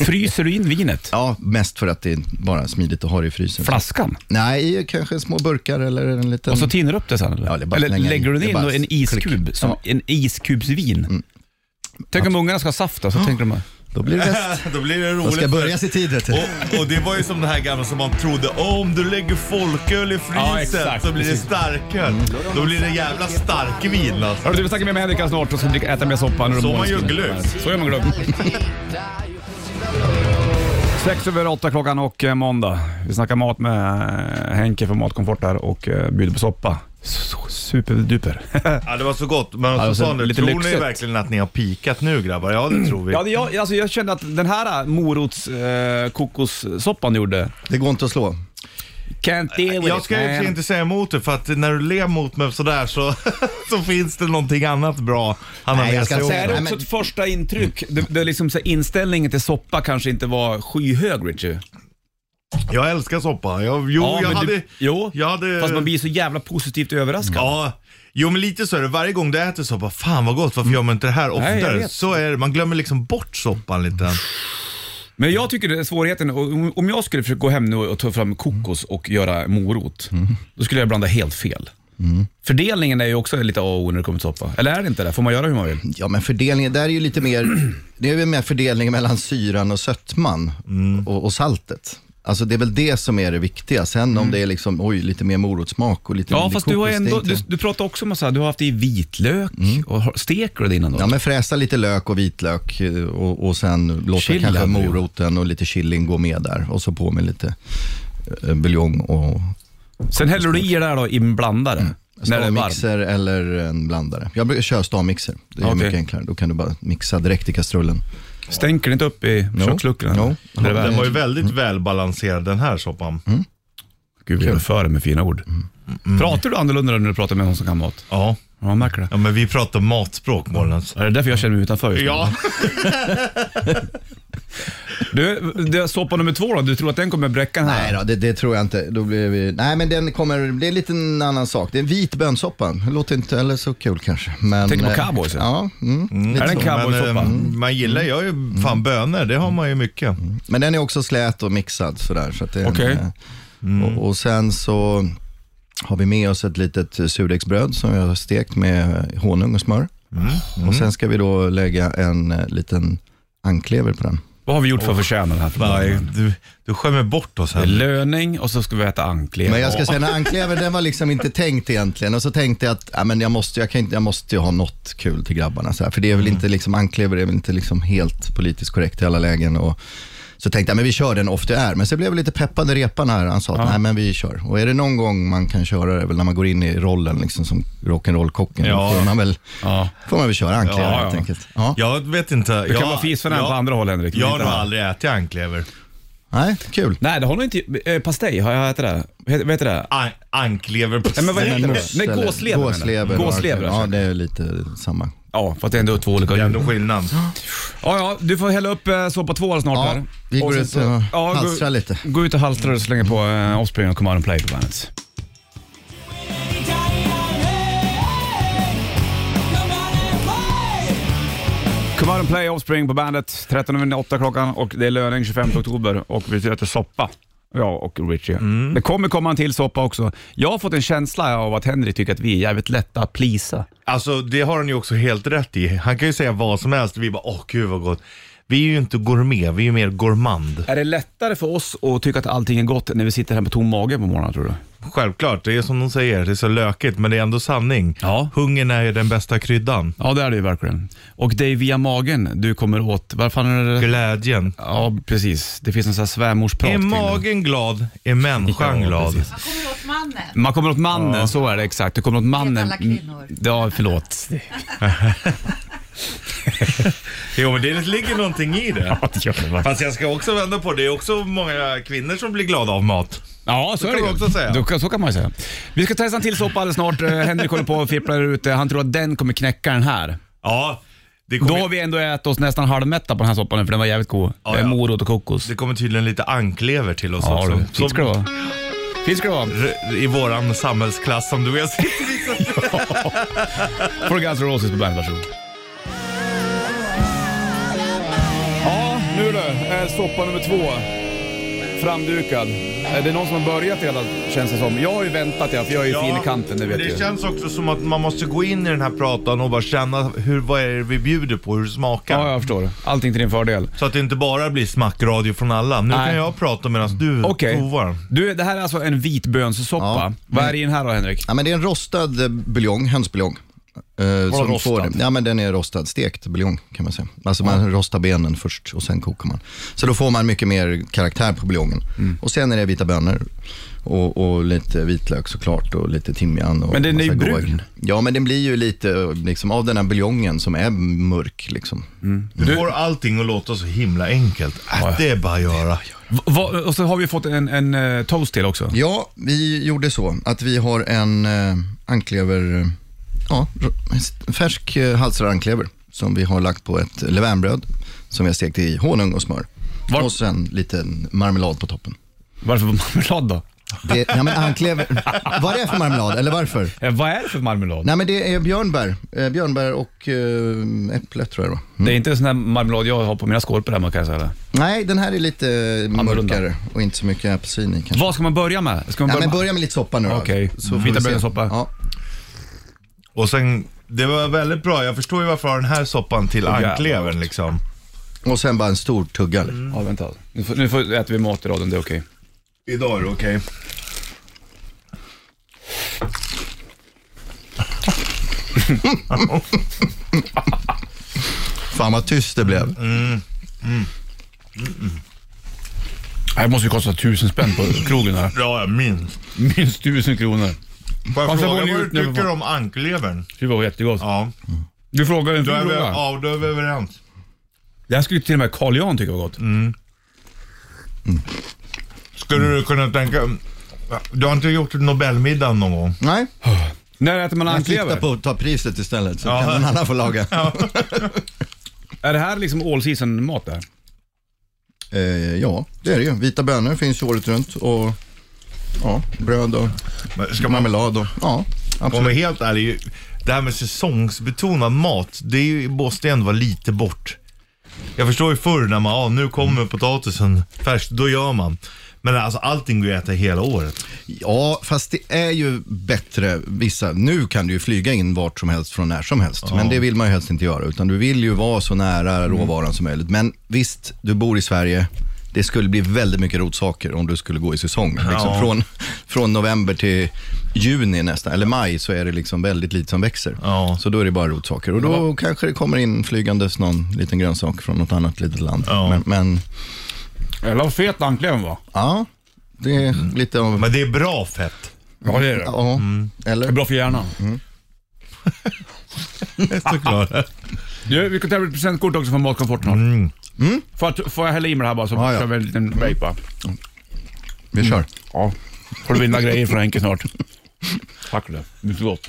Speaker 2: Fryser du in vinet?
Speaker 7: Ja, mest för att det är bara smidigt att ha det i frysen.
Speaker 2: Flaskan?
Speaker 7: Nej, i kanske små burkar eller en liten...
Speaker 2: Och så tinner du upp det sen eller?
Speaker 7: Ja, det är bara att
Speaker 2: eller
Speaker 7: slänga
Speaker 2: lägger
Speaker 7: i.
Speaker 2: du
Speaker 7: Det är
Speaker 2: in
Speaker 7: bara
Speaker 2: då en
Speaker 7: klick. Mm.
Speaker 2: iskub, som en iskubsvin? Tänk om ungarna ska ha saft då, så tänker de
Speaker 7: Då blir det bäst.
Speaker 3: Då blir det roligt.
Speaker 7: De ska börja i tid vet du.
Speaker 3: Och, och det var ju som det här gamla som man trodde, om du lägger folköl i frysen
Speaker 2: Ja, exakt,
Speaker 3: så blir det
Speaker 2: precis.
Speaker 3: starköl. Då blir det jävla starkvin alltså.
Speaker 2: Hörru du, vi snackar mer med Henrik här snart och ska dricka- äta mer soppa. när de
Speaker 3: Så
Speaker 2: mår
Speaker 3: man gör
Speaker 2: skulle.
Speaker 3: glögg.
Speaker 2: Så gör man glögg. Sex över åtta klockan och eh, måndag. Vi snackar mat med eh, Henke från Matkomfort här och eh, bjuder på soppa. S- Superduper.
Speaker 3: Ja, det var så gott. Men
Speaker 2: Ja,
Speaker 3: så
Speaker 2: och
Speaker 3: sa
Speaker 2: sen
Speaker 3: ni,
Speaker 2: lite
Speaker 3: tror ni
Speaker 2: lyxigt.
Speaker 3: verkligen att ni har pikat nu grabbar? Ja det tror vi.
Speaker 2: Ja, det- jag, alltså jag kände att den här morots eh, kokossoppan du gjorde,
Speaker 7: Det går inte att slå.
Speaker 2: can't deal with
Speaker 3: Jag
Speaker 2: it,
Speaker 3: ska ju
Speaker 2: man.
Speaker 3: inte säga emot det för att när du ler mot mig sådär så, så finns det någonting annat bra han har
Speaker 7: Nej, jag
Speaker 3: med
Speaker 7: ska
Speaker 3: sig
Speaker 2: Så
Speaker 7: inte
Speaker 3: också.
Speaker 7: säga
Speaker 2: är det
Speaker 7: Nej,
Speaker 2: också
Speaker 7: men-
Speaker 2: ett första intryck. Det, det är liksom så här, inställningen till soppa kanske inte var skyhög, Richie.
Speaker 3: Jag älskar soppa. Jag, jo, jag
Speaker 2: men
Speaker 3: hade...
Speaker 2: du, jo,
Speaker 3: jag hade...
Speaker 2: fast man blir så jävla positivt överraskad.
Speaker 3: Ja, jo men lite så är det. Varje gång du äter soppa, fan vad gott, varför gör man inte det här
Speaker 2: Nej, jag
Speaker 3: oftare?
Speaker 2: vet. Mm.
Speaker 3: så är det, man glömmer liksom bort soppan lite.
Speaker 2: Men jag tycker det är svårigheten, och om- om jag skulle försöka gå hem nu och ta fram kokos och göra morot, då skulle jag blanda helt fel. Fördelningen är ju också lite A och O när det kommer till soppa. Eller är det inte det? Får man göra hur man vill?
Speaker 7: Ja, men fördelningen, där är ju lite mer, det är väl mer fördelningen mellan syran och sötman
Speaker 2: Mm.
Speaker 7: och, och saltet. Alltså det är väl det som är det viktiga. Sen om det är liksom, oj, lite mer morotssmak och lite
Speaker 2: Mm. Ja,
Speaker 7: mindre
Speaker 2: fast du har
Speaker 7: kokos, det är
Speaker 2: ändå,
Speaker 7: inte-
Speaker 2: du, du pratar också om att så här, du har haft i vitlök och har- steker du det innan då?
Speaker 7: Ja, men fräsa lite lök och vitlök eh, och, och sen låta
Speaker 2: Chili
Speaker 7: kanske
Speaker 2: hade du ju.
Speaker 7: moroten och lite chilin gå med där och så på med lite eh, buljong och
Speaker 2: Sen häller du i det där då i en blandare, när det är varmt.
Speaker 7: stavmixer eller en blandare. Jag brukar köra stavmixer, det är
Speaker 2: Okej.
Speaker 7: mycket enklare. Då kan du bara mixa direkt i kastrullen.
Speaker 2: Stänker det inte upp i köksluckorna?
Speaker 7: Jo.
Speaker 2: När det är varmt?
Speaker 3: Den var ju väldigt välbalanserad den här soppan.
Speaker 2: Mm.
Speaker 7: Mm.
Speaker 3: Mm.
Speaker 2: Gud, vi överför det med fina ord. Pratar du annorlunda när du pratar med någon som kan mat?
Speaker 3: Ja.
Speaker 2: Ja, man märker det.
Speaker 3: Ja, men vi pratar matspråk Mårnens.
Speaker 2: Ja, det är därför jag känner mig utanför just nu.
Speaker 3: Ja.
Speaker 2: Du, det är soppa nummer två då. Du tror att den kommer bräcka den här?
Speaker 7: Nej då, det, det tror jag inte. Då blir vi... Nej men den kommer, det är lite en annan sak. Det är en vit bönssoppa. Det Låter inte heller så kul kanske. Men,
Speaker 2: Tänker på
Speaker 7: eh,
Speaker 2: cowboys, ja.
Speaker 7: Ja, mm.
Speaker 2: Är det en
Speaker 3: Men,
Speaker 2: cowboysoppa? Mm.
Speaker 3: eh, man gillar, jag är ju fan bönor, det har man ju mycket.
Speaker 7: Men den är också slät och mixad sådär. Så att det är en,
Speaker 2: Okej. Mm.
Speaker 7: eh, och, och sen så har vi med oss ett litet surdegsbröd som vi har stekt med eh, honung och smör.
Speaker 2: Mm.
Speaker 7: Och sen ska vi då lägga en eh, liten anklever på den.
Speaker 2: Vad har vi gjort för att förtjäna den här?
Speaker 3: Nej,
Speaker 2: förmånen?
Speaker 3: eh, du, du skämmer bort oss
Speaker 2: Det är
Speaker 3: här.
Speaker 2: löning och så ska vi äta anklever.
Speaker 7: Men jag ska säga, den här anklevern den var liksom inte tänkt egentligen. Och så tänkte jag att ja, men jag, måste, jag, kan inte, jag måste ju ha något kul till grabbarna. Så här. För det är väl
Speaker 2: Mm.
Speaker 7: inte liksom, anklever är väl inte liksom helt politiskt korrekt i alla lägen. Och så tänkte jag, men vi kör den ofta är. Men så blev jag lite peppad i repan här. Han sa att nej, men vi kör. Och är det någon gång man kan köra det, är väl när man går in i rollen liksom, som rock'n'roll-kocken,
Speaker 3: Ja.
Speaker 7: då får man väl,
Speaker 2: Ja.
Speaker 7: får man väl köra anklever
Speaker 3: Ja,
Speaker 2: ja.
Speaker 7: helt enkelt. Ja.
Speaker 3: Jag vet inte.
Speaker 2: Du kan vara fis för den på andra håll, Henrik. men
Speaker 3: Jag har
Speaker 2: inte
Speaker 3: nog
Speaker 2: här.
Speaker 3: aldrig ätit anklever.
Speaker 7: Nej, kul.
Speaker 2: Nej, det har nog inte... Eh, pastej, har jag ätit det? Vad heter det?
Speaker 3: An- anklever på
Speaker 2: Nej, men vad
Speaker 3: Nej,
Speaker 2: heter det?
Speaker 7: Möss
Speaker 2: Nej,
Speaker 7: eller-
Speaker 2: gåslever menar jag.
Speaker 7: Gåslever.
Speaker 2: Gåslever,
Speaker 7: Ja,
Speaker 2: alltså.
Speaker 7: det är lite samma.
Speaker 2: Ja, fast det är ändå två olika
Speaker 3: Det är
Speaker 2: ljud.
Speaker 3: ändå skillnad.
Speaker 2: Ja, ja, du får hälla upp eh, soppa två snart
Speaker 7: Ja,
Speaker 2: här.
Speaker 7: vi går
Speaker 2: sen
Speaker 7: ut
Speaker 2: så-
Speaker 7: och
Speaker 2: gå-
Speaker 7: halstrar lite.
Speaker 2: Gå ut och halstrar och slänger på eh, Offspring och Command and Play på bandet. Command and Play Offspring på bandet. 13.08 klockan och det är löning 25 oktober och vi äter soppa. Jag och Richie. Det kommer komma en till soppa också. Jag har fått en känsla av att Henrik tycker att vi är jävligt lätta att plisa.
Speaker 3: Alltså det har han ju också helt rätt i. Han kan ju säga vad som helst och vi bara, åh gud vad gott. Vi är ju inte gourmet, vi är ju mer gourmand.
Speaker 2: Är det lättare för oss att tycka att allting är gott när vi sitter här med tom mage på morgonen tror du?
Speaker 3: Självklart, det är som de säger, det är så lökigt men det är ändå sanning.
Speaker 2: Ja.
Speaker 3: Hungern är ju den bästa kryddan.
Speaker 2: Ja, det är det ju verkligen. Och det är via magen du kommer åt. Varför är det...
Speaker 3: Glädjen.
Speaker 2: Ja, precis. Det finns en sån här svärmorsprat
Speaker 3: Är
Speaker 2: kring det.
Speaker 3: magen glad, är människan
Speaker 2: Ja,
Speaker 3: glad.
Speaker 2: precis.
Speaker 8: Man kommer åt mannen.
Speaker 2: Man kommer åt mannen, så är det exakt. Du kommer åt mannen.
Speaker 8: alla kvinnor.
Speaker 2: Ja, förlåt.
Speaker 3: Jo men det ligger någonting i det.
Speaker 2: det gör det verkligen.
Speaker 3: Fast jag ska också vända på det, det är också många kvinnor som blir glada av mat.
Speaker 2: Ja, så
Speaker 3: kan
Speaker 2: är det
Speaker 3: man
Speaker 2: ju.
Speaker 3: också säga.
Speaker 2: Du kan- Så kan man ju säga. Vi ska testa en till soppa alldeles snart. Eh, Henrik håller på och fipplar där ute. Han tror att den kommer knäcka den här.
Speaker 3: Ja, det
Speaker 2: Då
Speaker 3: kommer,
Speaker 2: har vi ändå ätit oss nästan halvmätta på den här soppan nu, för den var jävligt god.
Speaker 3: Ja,
Speaker 2: Det är
Speaker 3: ja.
Speaker 2: Morot och kokos.
Speaker 3: det kommer tydligen lite anklever till oss
Speaker 2: Ja,
Speaker 3: också.
Speaker 2: du. Fint ska det vara. Fint ska det vara.
Speaker 3: R- I våran samhällsklass som du och jag sitter i.
Speaker 2: Får Guns N' Roses på bandet, varsågod. Ja, nu du. Eh, Soppa nummer två. Framdukad. Eh, Det är någon som har börjat redan känns det som. Jag har ju väntat ja, för jag är ju fin i kanten, det vet
Speaker 3: det
Speaker 2: du.
Speaker 3: känns också som att man måste gå in i den här pratan och bara känna hur, vad är det vi bjuder på, hur det smakar.
Speaker 2: Ja, jag förstår. Allting till din fördel.
Speaker 3: Så att det inte bara blir smackradio från alla. Nu
Speaker 2: Nej.
Speaker 3: kan jag prata medan du
Speaker 2: Okej.
Speaker 3: provar.
Speaker 2: Du, det här är alltså en vitbönssoppa.
Speaker 7: Ja.
Speaker 2: Vad är det i den här då, Henrik?
Speaker 7: Ja, men det är en rostad eh, buljong, hönsbuljong. Eh, som
Speaker 2: rostad?
Speaker 7: får- ja, men den är rostad, stekt buljong kan man säga. Alltså man rostar benen först och sen kokar man. Så då får man mycket mer karaktär på buljongen.
Speaker 2: Mm.
Speaker 7: Och sen är det vita bönor och, och lite vitlök såklart och lite timjan. Och
Speaker 2: Men den är ju
Speaker 7: massa goda-
Speaker 2: brun.
Speaker 7: Ja, men den blir ju lite eh, liksom, av den här buljongen som är mörk. Liksom.
Speaker 3: Du får allting att låta så himla enkelt. Äh, Det är bara att göra.
Speaker 2: Va- va- och så har vi fått en, en eh, toast till också.
Speaker 7: Ja, vi gjorde så att vi har en eh, anklever, eh, ja, r- en färsk eh, halsrör anklever som vi har lagt på ett levainbröd som vi har stekt i honung och smör.
Speaker 2: Var-
Speaker 7: Och sen lite marmelad på toppen.
Speaker 2: Varför marmelad då?
Speaker 7: Det, ja, men anklever, vad är det för marmelad eller varför?
Speaker 2: Eh, vad är det för marmelad?
Speaker 7: Nej men det är björnbär, eh, björnbär och eh, äpple tror jag det var.
Speaker 2: Det är inte en sån här marmelad jag har på mina skålpor hemma kan jag säga.
Speaker 7: Nej, den här är lite
Speaker 2: Annorlunda.
Speaker 7: mörkare och inte så mycket apelsin i kanske.
Speaker 2: Vad ska man börja med? Ska man
Speaker 7: Nej,
Speaker 2: börja
Speaker 7: men
Speaker 2: med-
Speaker 7: börja med lite soppa nu då.
Speaker 2: Okej.
Speaker 7: så får vi
Speaker 2: Vita
Speaker 7: se.
Speaker 2: bönssoppa.
Speaker 7: Ja.
Speaker 3: Och sen, det var väldigt bra. Jag förstår ju varför jag har den här soppan till
Speaker 2: jävla
Speaker 3: anklevern liksom.
Speaker 7: Och sen bara en stor tugga.
Speaker 2: Ja, vänta. Nu, får, nu får, äter vi mat i raden, det är okej.
Speaker 3: Idag är det okej.
Speaker 7: Fan vad tyst det blev.
Speaker 2: Det här måste ju kosta tusen spänn på krogen här.
Speaker 3: Ja, jag minns.
Speaker 2: Minst tusen kronor.
Speaker 3: Får jag
Speaker 2: Fast jag
Speaker 3: fråga
Speaker 2: borde
Speaker 3: vad
Speaker 2: ju-
Speaker 3: du tycker om anklevern?
Speaker 2: Det var jättegott.
Speaker 3: Ja,
Speaker 2: Du frågade en
Speaker 3: då
Speaker 2: fin
Speaker 3: är vi,
Speaker 2: fråga.
Speaker 3: ja, då är vi överens.
Speaker 2: Det här skulle till och med Carl Jan tycka var gott.
Speaker 3: Skulle du kunna tänka... Du har inte gjort Nobelmiddagen någon gång?
Speaker 7: Nej.
Speaker 2: När äter man
Speaker 7: Man
Speaker 2: anklever?
Speaker 7: siktar på att ta priset istället så
Speaker 3: Ja.
Speaker 7: kan någon annan få laga.
Speaker 2: Är det här liksom all season mat där?
Speaker 7: Eh, ja, det är det ju. Vita bönor finns ju året runt och ja, bröd och
Speaker 3: Men Ska man,
Speaker 7: marmelad och ja,
Speaker 3: om man
Speaker 7: absolut.
Speaker 3: är helt ärlig, ju- det här med säsongsbetonad mat, det är ju, måste ju ändå vara lite bort. Jag förstår ju förr när man, ja nu kommer potatisen färsk, då gör man. Men alltså allting går ju att äta hela året.
Speaker 7: Ja, fast det är ju bättre vissa. Nu kan du ju flyga in vart som helst från när som helst, men det vill man ju helst inte göra, utan du vill ju vara så nära
Speaker 3: Mm.
Speaker 7: råvaran som möjligt. Men visst, du bor i Sverige. Det skulle bli väldigt mycket rotsaker om du skulle gå i säsong. Liksom
Speaker 3: Ja.
Speaker 7: från, från november till juni nästan, eller maj, så är det liksom väldigt lite som växer.
Speaker 3: Ja.
Speaker 7: Så då är det bara rotsaker. Och då kanske det kommer in flygandes någon liten grönsak från något annat litet land.
Speaker 3: Ja.
Speaker 7: Men, men
Speaker 2: Eller vad fet ankleven var.
Speaker 7: ja, det är lite av...
Speaker 3: Men Mm. det är bra fett.
Speaker 2: Ja det är det.
Speaker 7: Ja, eller?
Speaker 2: Det är bra för hjärnan.
Speaker 7: Mm.
Speaker 3: Såklart.
Speaker 2: Du, vi kan tävla ett presentkort också från Matkomfort snart.
Speaker 3: Mm.
Speaker 2: Får, jag- får jag hälla i mig det här bara så
Speaker 7: Ja, ja.
Speaker 2: kör vi en liten break bara.
Speaker 7: Vi kör.
Speaker 2: Ja. Får du vinna grejer från Henke snart. Tack för det. Det är så gott.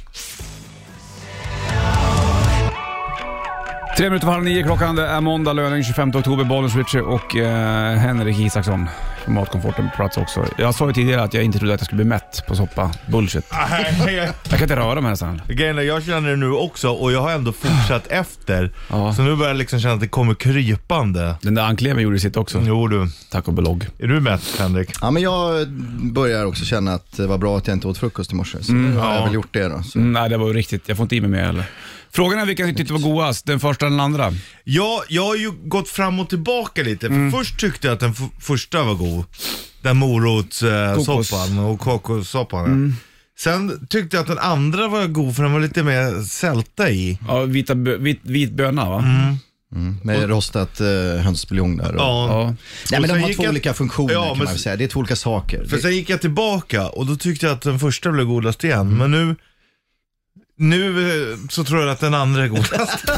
Speaker 2: Tre minuter för halv nio klockan. Det är måndag, löning 25 oktober. Bollen Switcher och eh, Henrik Isaksson från Matkomforten på plats också. Jag sa ju tidigare att jag inte trodde att jag skulle bli mätt på soppa. Bullshit. Jag kan inte röra mig nästan.
Speaker 3: Grejen är, jag känner det nu också och jag har ändå fortsatt efter.
Speaker 2: Ja.
Speaker 3: Så nu börjar jag liksom känna att det kommer krypande.
Speaker 2: Den där ankleven gjorde sitt också.
Speaker 3: Jo du,
Speaker 2: Tack och belogg.
Speaker 3: är du mätt Henrik?
Speaker 7: Ja, men jag börjar också känna att det var bra att jag inte åt frukost i morse. Så
Speaker 3: Mm.
Speaker 7: då har jag väl gjort det då. Så.
Speaker 2: Mm, nej, det var ju riktigt. Jag får inte i mig mer heller. Frågan är vilken jag tyckte var godast. Den första eller den andra?
Speaker 3: Ja, jag har ju gått fram och tillbaka lite.
Speaker 2: Mm.
Speaker 3: För Först tyckte jag att den f- första var god. Den
Speaker 2: Kokos. Mm.
Speaker 3: morotssoppan och kokossoppan. Sen tyckte jag att den andra var god för den var lite mer sälta i.
Speaker 2: Ja, vita, bö- vit, vit böna va?
Speaker 7: Med rostat eh, hönsbuljong där. Och,
Speaker 3: Mm. Ja.
Speaker 2: Ja.
Speaker 7: Nej,
Speaker 3: Och sen
Speaker 7: men de har
Speaker 3: gick
Speaker 7: två
Speaker 3: jag-
Speaker 7: olika funktioner
Speaker 3: Ja,
Speaker 7: kan
Speaker 3: men
Speaker 7: man väl
Speaker 3: s-
Speaker 7: säga. Det är två olika saker.
Speaker 3: För
Speaker 7: det...
Speaker 3: sen gick jag tillbaka och då tyckte jag att den första blev godast igen.
Speaker 2: Mm.
Speaker 3: Men nu, nu eh, så tror jag att den andra är godast.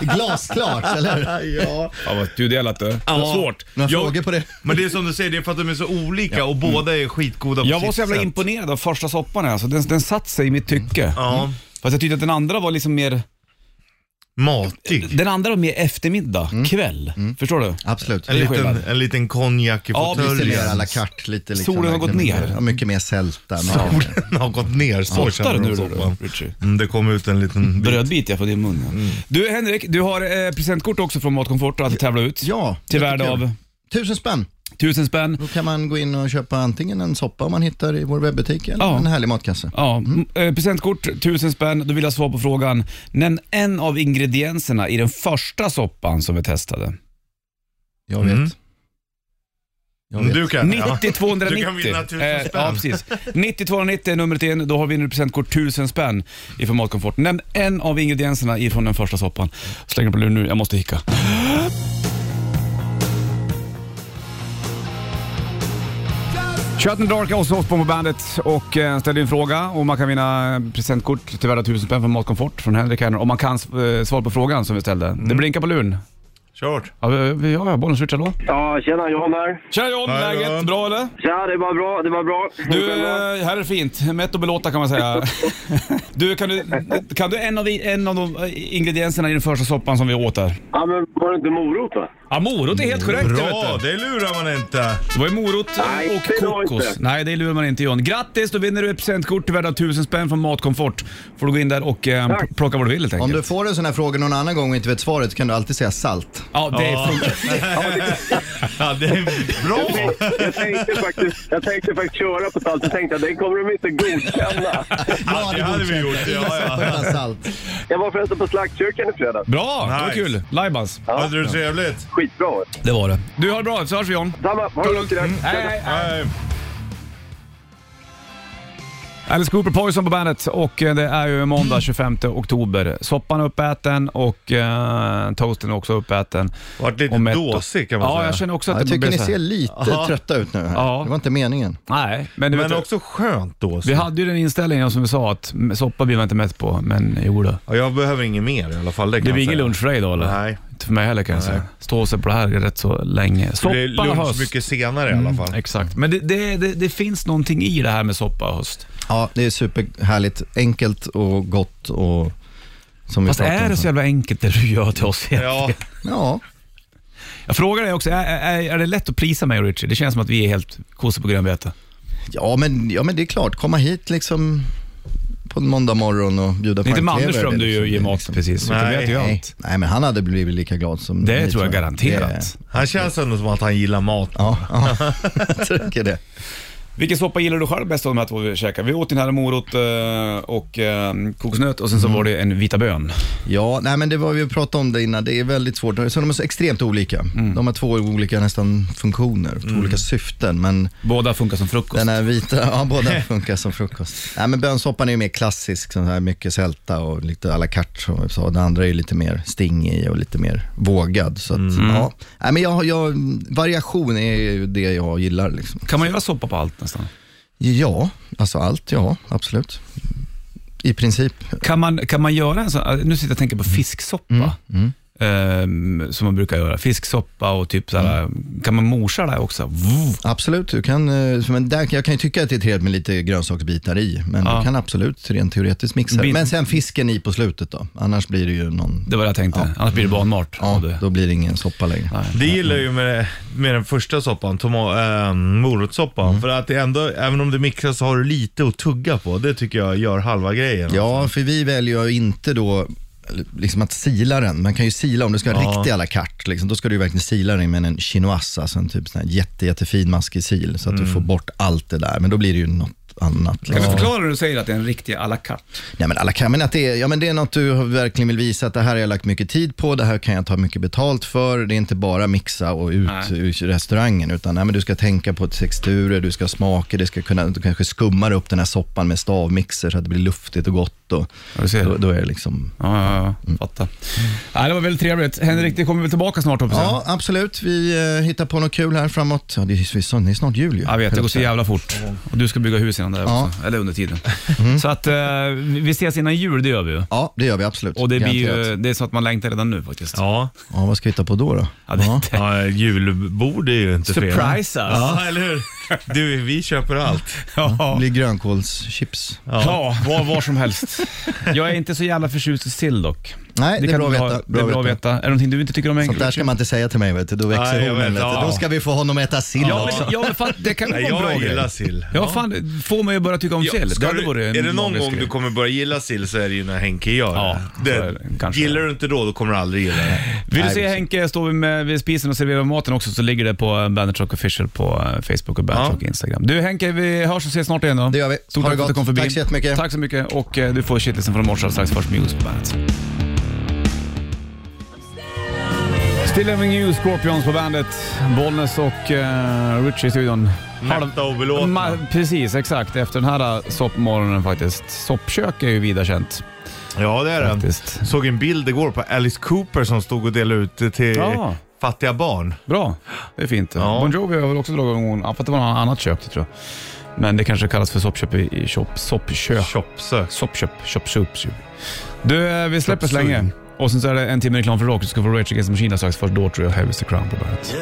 Speaker 7: Glasklart, eller?
Speaker 3: ja.
Speaker 2: Ja, vad tudelat du. Det var svårt.
Speaker 7: Några
Speaker 2: Jag,
Speaker 7: frågor på det?
Speaker 3: Men det är som du säger, det är för att de är så olika och båda är skitgoda på
Speaker 2: jag var
Speaker 3: sitt
Speaker 2: så jävla
Speaker 3: sätt.
Speaker 2: imponerad av första soppan alltså. Den, den satt sig i mitt tycke.
Speaker 3: Ja,
Speaker 2: Fast jag tyckte att den andra var liksom mer,
Speaker 3: matig.
Speaker 2: den andra var mer eftermiddag, kväll. Förstår du?
Speaker 7: Absolut.
Speaker 3: En
Speaker 2: är
Speaker 3: liten,
Speaker 2: skillnad.
Speaker 3: en liten konjak i
Speaker 2: Ja,
Speaker 7: Lite mer
Speaker 3: fåtöljen.
Speaker 7: à la carte, lite liksom,
Speaker 2: Solen har gått
Speaker 7: verkligen
Speaker 2: ner.
Speaker 7: mycket- ja, Mycket mer sälta. men-
Speaker 3: Solen har gått ner, så
Speaker 2: Fattar
Speaker 3: känner
Speaker 2: du
Speaker 3: de
Speaker 2: nu
Speaker 3: soppan.
Speaker 2: du, Richie?
Speaker 3: Mm, det kom ut en liten bit.
Speaker 2: Brödbit jag från din mun. Ja. Du Henrik, du har eh, presentkort också från Matkomfort att tävla ut.
Speaker 7: Ja,
Speaker 2: Till
Speaker 7: jättekul.
Speaker 2: värde av
Speaker 7: Tusen spänn.
Speaker 2: tusen spänn.
Speaker 7: Då kan man gå in och köpa antingen en soppa man hittar i vår webbutik eller
Speaker 2: Ja.
Speaker 7: en härlig matkasse.
Speaker 2: Ja, mm. eh, presentkort, tusen spänn. Då vill jag svara på frågan. Nämn en av ingredienserna i den första soppan som vi testade.
Speaker 7: Jag vet.
Speaker 3: Mm.
Speaker 7: Jag vet.
Speaker 3: Du kan, ja.
Speaker 2: 90 290.
Speaker 3: Du kan vinna 1000 spänn.
Speaker 2: Eh, ja, precis. 90 290 är numret in. Då har vi nu presentkort 1000 spänn ifrån Matkomfort. Nämn en av ingredienserna ifrån den första soppan. Släng den på luren nu, jag måste hicka. Shut and Dark är hos oss på bandet och eh, ställde en fråga om man kan vinna presentkort till värde av 1000 spänn från Matkomfort från Henrik här nu. Om man kan eh, svara på frågan som vi ställde.
Speaker 3: Mm.
Speaker 2: Det blinkar på luren.
Speaker 3: Kört.
Speaker 2: Ja, vi, vi, ja bollen switchar då.
Speaker 6: Ja, tjena John här.
Speaker 2: Tjena John,
Speaker 3: Hallå.
Speaker 2: läget? Bra eller?
Speaker 6: Tja, det var bra, det var bra.
Speaker 2: Du, eh, här är fint. Mätt och belåta kan man säga. Du, kan du, kan du en, av, en av de eh, ingredienserna i den första soppan som vi åt där?
Speaker 6: Ja, men var det inte morot va?
Speaker 2: Ja, morot är helt korrekt.
Speaker 3: Bra,
Speaker 2: Vet du.
Speaker 3: det lurar man inte.
Speaker 2: Det var ju morot
Speaker 6: Nej,
Speaker 2: och
Speaker 6: det var
Speaker 2: kokos.
Speaker 6: inte.
Speaker 2: Nej, det lurar man inte John. Grattis, då vinner du ett presentkort värda 1000 spänn från Matkomfort. får du gå in där och eh, pl- plocka vad du vill helt
Speaker 7: Om
Speaker 2: enkelt.
Speaker 7: du får en sån här fråga någon annan gång och inte vet svaret kan du alltid säga salt.
Speaker 2: Ja, det funkar.
Speaker 3: Ja, det är bra.
Speaker 6: Jag tänkte faktiskt, jag tänkte faktiskt köra på salt. Jag tänkte att den kommer de inte godkänna.
Speaker 3: Ja, det hade vi gjort. Ja, ja.
Speaker 7: Bara salt.
Speaker 6: Jag var förresten på Slaktkyrkan i fredags.
Speaker 2: Bra, det var
Speaker 3: Nice.
Speaker 2: kul. Lajbans.
Speaker 3: Hade du trevligt?
Speaker 6: Skitbra.
Speaker 2: Det var det. Du, har det bra så hörs vi John.
Speaker 6: Samma, ha det lugnt idag.
Speaker 2: Hej, Mm. hej.
Speaker 3: Nej.
Speaker 2: Alice Cooper Poison på bandet och eh, det är ju måndag
Speaker 3: Mm.
Speaker 2: 25 oktober. Soppan är uppäten och eh, toasten är också uppäten.
Speaker 3: Vart lite
Speaker 2: Och mätt och-
Speaker 3: dåsig kan man
Speaker 2: Ja,
Speaker 3: säga.
Speaker 2: jag känner också att
Speaker 7: Jag
Speaker 2: det
Speaker 7: tycker
Speaker 2: blir
Speaker 7: ni
Speaker 2: så här-
Speaker 7: ser lite trötta ut nu. Här.
Speaker 2: Ja.
Speaker 7: Det var inte meningen.
Speaker 2: Nej, men, du
Speaker 3: Men
Speaker 2: vet,
Speaker 3: också skönt då.
Speaker 2: vi hade ju den inställningen som vi sa att m- soppa blir man inte mätt på, men jo då.
Speaker 3: Ja, jag behöver inget mer i alla fall. Det, kan
Speaker 2: Det
Speaker 3: jag
Speaker 2: blir ingen
Speaker 3: säga.
Speaker 2: lunch för dig idag eller?
Speaker 3: Nej.
Speaker 2: nytt för mig heller kan jag säga. Stå sig på det här rätt så länge.
Speaker 3: Det blir
Speaker 2: Soppa och
Speaker 3: lunch
Speaker 2: höst.
Speaker 3: mycket senare i alla fall.
Speaker 2: Exakt, men det, det, det, det finns någonting i det här med soppa och höst.
Speaker 7: Ja, det är superhärligt. Enkelt och gott och som
Speaker 2: Fast
Speaker 7: vi pratade
Speaker 2: är det
Speaker 7: om.
Speaker 2: så jävla enkelt det du gör till oss egentligen?
Speaker 3: Ja,
Speaker 7: Ja,
Speaker 2: Jag frågar dig också, är, är, är det lätt att prisa mig och Richie? Det känns som att vi är helt kossor på grönbete.
Speaker 7: ja, men, ja, men det är klart. Komma hit liksom på en måndag morgon och bjuda
Speaker 2: Det är
Speaker 7: på
Speaker 2: inte
Speaker 7: en kleve,
Speaker 2: Mannerström
Speaker 7: det
Speaker 2: du
Speaker 7: liksom,
Speaker 2: ju ger
Speaker 7: det är
Speaker 2: mat
Speaker 7: liksom-
Speaker 2: precis. utan
Speaker 3: Nej.
Speaker 2: det vet ju
Speaker 7: Nej,
Speaker 2: allt.
Speaker 7: nej, men han hade blivit lika glad som
Speaker 2: Det
Speaker 7: ni,
Speaker 2: tror jag
Speaker 7: Det-
Speaker 2: garanterat.
Speaker 3: han känns ändå som att han gillar mat.
Speaker 7: Ja, ja. jag tycker det.
Speaker 2: Vilken soppa gillar du själv bäst av de här två vi käkade? Vi åt den här morot eh, och eh, kokosnöt och sen
Speaker 7: Mm.
Speaker 2: så var det en vita bön.
Speaker 7: Ja, nej men det var vi pratade om det innan. Det är väldigt svårt. Så de är så extremt olika. De har två olika nästan funktioner, två olika syften. Men
Speaker 2: Båda funkar som frukost.
Speaker 7: den här vita, ja båda funkar som frukost. Nej men bönsoppan är ju mer klassisk, sån här mycket sälta och lite à la carte som jag sa. Den andra är ju lite mer sting i och lite mer vågad. Så att, ja. Nej men jag, jag, variation är ju det jag gillar liksom.
Speaker 2: Kan man göra soppa på allt nästan?
Speaker 7: Ja, alltså allt, ja absolut. I princip.
Speaker 2: Kan man, kan man göra en sån, nu sitter jag och tänker
Speaker 7: Mm.
Speaker 2: på fisksoppa. eh, som man brukar göra. Fisksoppa och typ såhär,
Speaker 7: Mm.
Speaker 2: kan man morsa det här också? Vuh.
Speaker 7: Absolut, du kan, eh, men där, jag kan ju tycka att det är trevligt med lite grönsaksbitar i, men
Speaker 2: Ja.
Speaker 7: du kan absolut rent teoretiskt mixa.
Speaker 2: Bin-
Speaker 7: Men sen fisken i på slutet då, annars blir det ju någon,
Speaker 2: Det var det jag tänkte. Annars blir det barnmat.
Speaker 7: ja,
Speaker 2: av det.
Speaker 7: då blir det ingen soppa längre.
Speaker 3: Det gillar jag ju med, med den första soppan, toma- äh, morotssoppan. För att det ändå, även om det mixas så har du lite att tugga på. Det tycker jag gör halva grejen.
Speaker 7: Ja, för vi väljer ju inte då liksom att sila den. Man kan ju sila, om du ska ha
Speaker 3: Ja.
Speaker 7: riktig à la carte, liksom, då ska du ju verkligen sila den med en chinoise, alltså en typ sån här jätte, jättefin maskig sil, så att du får bort allt det där. Men då blir det ju något annat.
Speaker 2: Mm. Kan
Speaker 7: liksom.
Speaker 2: du förklara när du säger att det är en riktig à la carte?
Speaker 7: Nej, men alla kan, men att det, är, ja, men det är något du verkligen vill visa att det här har jag lagt mycket tid på, det här kan jag ta mycket betalt för. Det är inte bara mixa och ut
Speaker 2: Nej.
Speaker 7: ur restaurangen, utan nej, men du ska tänka på texturer, du ska ha smaker, du ska kunna, du kanske skummar upp den här soppan med stavmixer så att det blir luftigt och gott. Och,
Speaker 2: Ja, du ser.
Speaker 7: då, då är det liksom...
Speaker 2: Ja, ja, ja. Fattar. Ja, det var väldigt trevligt. Henrik, det kommer väl tillbaka snart hoppas jag?
Speaker 7: Ja, absolut. Vi eh, hittar på något kul här framåt. Ja, det, är, ju så- det är snart jul ju.
Speaker 2: Jag vet, det går så jävla fort. Och du ska bygga hus innan det här
Speaker 7: Ja. Mm.
Speaker 2: också, eller under tiden. Så att eh, vi vi ses innan jul, det gör vi ju.
Speaker 7: Ja, det gör vi absolut.
Speaker 2: Och det, blir ju,
Speaker 7: Garanterat.
Speaker 2: det är så att man längtar redan nu faktiskt.
Speaker 3: Ja,
Speaker 7: Ja, vad ska vi hitta på då? då?
Speaker 2: Ja, det, det.
Speaker 3: ja julbord är ju inte fel.
Speaker 2: Surprise us.
Speaker 3: Ja, eller hur? Du, vi köper allt.
Speaker 7: Det
Speaker 2: Ja.
Speaker 7: blir grönkålschips.
Speaker 2: Ja, var, var som helst. Jag är inte så jävla förtjust i sill dock.
Speaker 7: Nej, det är
Speaker 2: kan
Speaker 7: bra att
Speaker 2: du ha-
Speaker 7: veta.
Speaker 2: Det är bra att veta. Är det någonting du inte tycker om
Speaker 7: Sånt där ska man inte säga till mig, vet du. då växer
Speaker 3: Nej, jag
Speaker 7: hornen
Speaker 3: vet,
Speaker 7: lite.
Speaker 3: ja.
Speaker 7: Då ska vi få honom att äta sill
Speaker 2: Ja,
Speaker 7: också.
Speaker 2: men, ja, men fan, det kan vara
Speaker 3: Nej,
Speaker 2: en bra
Speaker 3: jag
Speaker 2: grej.
Speaker 3: gillar sill.
Speaker 2: Ja, fan, få mig att börja tycka om sill.
Speaker 3: ska
Speaker 2: Det hade
Speaker 3: du-
Speaker 2: varit en
Speaker 3: är det någon
Speaker 2: magisk
Speaker 3: gång
Speaker 2: grej.
Speaker 3: du kommer börja gilla sill så är det ju när Henke gör
Speaker 2: Ja,
Speaker 3: det.
Speaker 2: så är det. Kanske.
Speaker 3: Gillar du inte då, då kommer du aldrig gilla det.
Speaker 2: Vill du
Speaker 7: Nej,
Speaker 2: se
Speaker 7: precis.
Speaker 2: Henke står vi med vid spisen och serverar maten också så ligger det på eh, Bandit Rock Official på eh, Facebook och Bandit
Speaker 3: Ja.
Speaker 2: Rock Instagram. Du Henke, vi hörs och ses snart igen då.
Speaker 7: Det gör vi.
Speaker 2: Stort
Speaker 7: Ha
Speaker 2: tack för
Speaker 7: det
Speaker 2: att du kom
Speaker 7: gott.
Speaker 2: förbi.
Speaker 7: Tack så jättemycket.
Speaker 2: Tack så mycket och eh, du får shitlisten från morse strax först Muse på Bandet. Still Living You, Scorpions på Bandet, Bollnäs och eh, Richie i studion.
Speaker 3: Mätta och belåtna.
Speaker 2: Ma- precis, exakt. Efter den här eh, soppmorgonen faktiskt. Soppkök är ju vida känt
Speaker 3: Ja, det är det.
Speaker 2: faktiskt.
Speaker 3: Såg en bild igår på Alice Cooper som stod och delade ut till
Speaker 2: Ja.
Speaker 3: fattiga barn.
Speaker 2: Bra, det är fint.
Speaker 3: Ja.
Speaker 2: Bon Jovi har väl också dragit igång, ja, för att det var något annat kök det tror jag. Men det kanske kallas för soppköp i, i shop, soppkök.
Speaker 3: Chopsök.
Speaker 2: Soppköp, shop, shop, shop. Du, eh, vi släpper så
Speaker 3: Shopsug.
Speaker 2: länge. Och sen så är det en timme reklam för rock. Du ska få Rage Against the Machine strax. Först då tror jag Heavy is the Crown på bandet.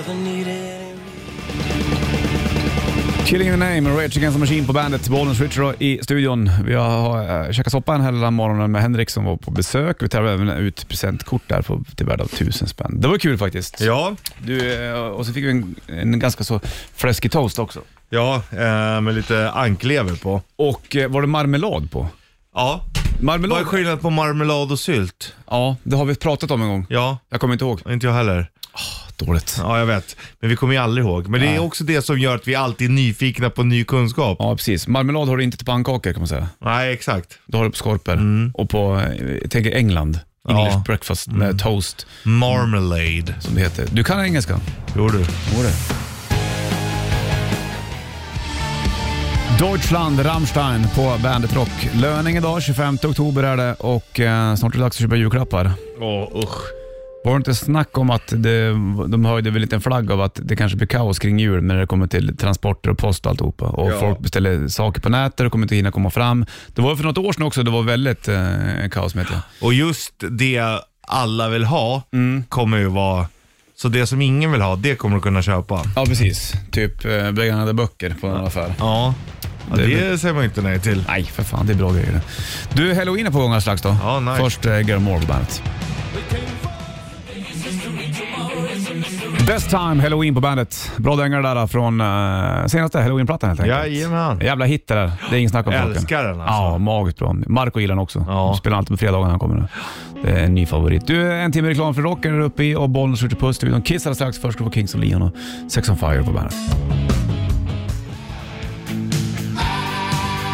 Speaker 2: Killing in the name, Rage Against the Machine på bandet. Bollens Richard i studion. Vi har äh, käkat soppa den här lilla morgonen med Henrik som var på besök. Vi tävlade även ut presentkort där på, till värde av tusen spänn. Det var kul faktiskt.
Speaker 3: Ja,
Speaker 2: Du, eh, och så fick vi en, en ganska så fläskig toast också.
Speaker 3: ja eh, med lite anklever på.
Speaker 2: Och eh, var det marmelad på?
Speaker 3: Ja. Vad är
Speaker 2: Marmelad?
Speaker 3: skillnaden på marmelad och sylt?
Speaker 2: Ja, det har vi pratat om en gång.
Speaker 3: Ja,
Speaker 2: Jag kommer inte ihåg.
Speaker 3: inte jag heller.
Speaker 2: Dåligt.
Speaker 3: Ja, jag vet. Men vi kommer ju aldrig ihåg. Men det är också det som gör att vi alltid är nyfikna på ny kunskap.
Speaker 2: Ja, precis. Marmelad har du inte till pannkakor kan man säga.
Speaker 3: Nej, exakt.
Speaker 2: Du har det på skorpor och på, eh, jag tänker England. English
Speaker 3: Mm. Ja. Mm.
Speaker 2: breakfast med toast,
Speaker 3: Marmalade.
Speaker 2: som det heter. Du kan engelska?
Speaker 3: Jo du.
Speaker 2: Jo det. Deutschland, Rammstein på Bandet Rock. Löning idag, 25 oktober är det och eh, snart är det dags att köpa julklappar.
Speaker 3: Åh, usch.
Speaker 2: Var det inte snack om att det, de höjde väl lite en flagg av att det kanske blir kaos kring jul när det kommer till transporter och post och alltihopa. Och
Speaker 3: Ja.
Speaker 2: folk beställer saker på nätet och kommer inte hinna komma fram. Det var ju för något år sedan också det var väldigt eh, kaos med det.
Speaker 3: Och just det alla vill ha kommer ju vara... Så det som ingen vill ha, det kommer du kunna köpa.
Speaker 2: Ja, precis. Typ eh, begagnade böcker på en affär.
Speaker 3: Ja, ja
Speaker 2: Det
Speaker 3: det,
Speaker 2: är
Speaker 3: säger man ju inte nej till.
Speaker 2: Nej, för fan. Det är bra grejer det. Du, halloween är på gång alldeles strax då.
Speaker 3: Ja, nice.
Speaker 2: Först eh, Gary Moore på bandet. Best time halloween på bandet. Bra dängare där från eh, senaste halloweenplattan helt enkelt.
Speaker 3: Jajamän.
Speaker 2: Jävla hit det där. Det är ingen snack om saken.
Speaker 3: Älskar den alltså.
Speaker 2: Ja, magiskt bra. Marco gillar den också.
Speaker 3: Ja.
Speaker 2: Spelar alltid på fredagar när han kommer nu. Det är en ny favorit. Du, en timme reklam för rocken är uppe i och bollen skjuter puss. De kissar strax. Först ska vi få Kings of Leon och Sex on Fire på bandet.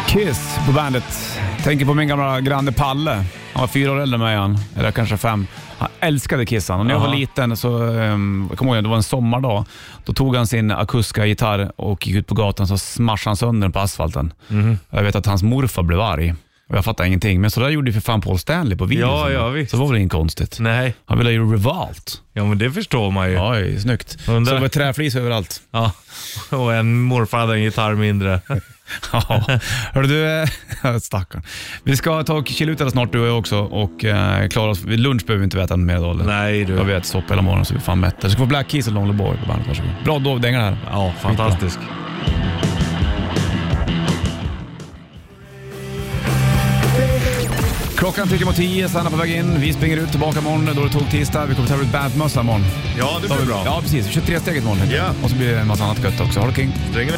Speaker 2: Kiss på bandet. Tänker på min gamla granne Palle. Han var fyra år äldre än mig han. Eller kanske fem. Han älskade Kiss han. Och när jag var liten så, um, jag kommer ihåg, det var en sommardag. Då tog han sin akustiska gitarr och gick ut på gatan så smashade han sönder den på asfalten.
Speaker 3: Mhm.
Speaker 2: Jag vet att hans morfar blev arg. Och jag fattar ingenting. Men så där gjorde ju för fan Paul Stanley på videon.
Speaker 3: Ja, ja, visst.
Speaker 2: Så det var väl inget konstigt.
Speaker 3: Nej,
Speaker 2: Han ville ju revolt.
Speaker 3: ja men det förstår man ju. Ja.
Speaker 2: Oj, snyggt.
Speaker 3: Undrar-
Speaker 2: Så det var träflis överallt.
Speaker 3: Och en morfar hade en gitarr mindre.
Speaker 2: Ja, hörru du, eh, stackarn. Vi ska ta och chilla ut alla snart du och jag också och eh, klara oss. Vid lunch behöver vi inte äta mer då. eller?
Speaker 3: Nej
Speaker 2: Jag
Speaker 3: du.
Speaker 2: vet, soppa hela morgonen så vi är fan mätta. Så ska vi få Black Keys och Longleborg på bandet. Varsågod. Bra dovdänga det här.
Speaker 3: Ja, fantastisk.
Speaker 2: Klockan tickar mot tio, Sanna på väg in. Vi springer ut tillbaka imorgon då det tog tisdag. Vi kommer ta ut bandmössa imorgon.
Speaker 3: Ja, det
Speaker 2: Då har vi-
Speaker 3: blir bra.
Speaker 2: Ja, precis. 23-steget imorgon. helt
Speaker 3: Ja.
Speaker 2: enkelt. Och så blir det en massa annat gött också. Ha det king.
Speaker 3: Stränger vi-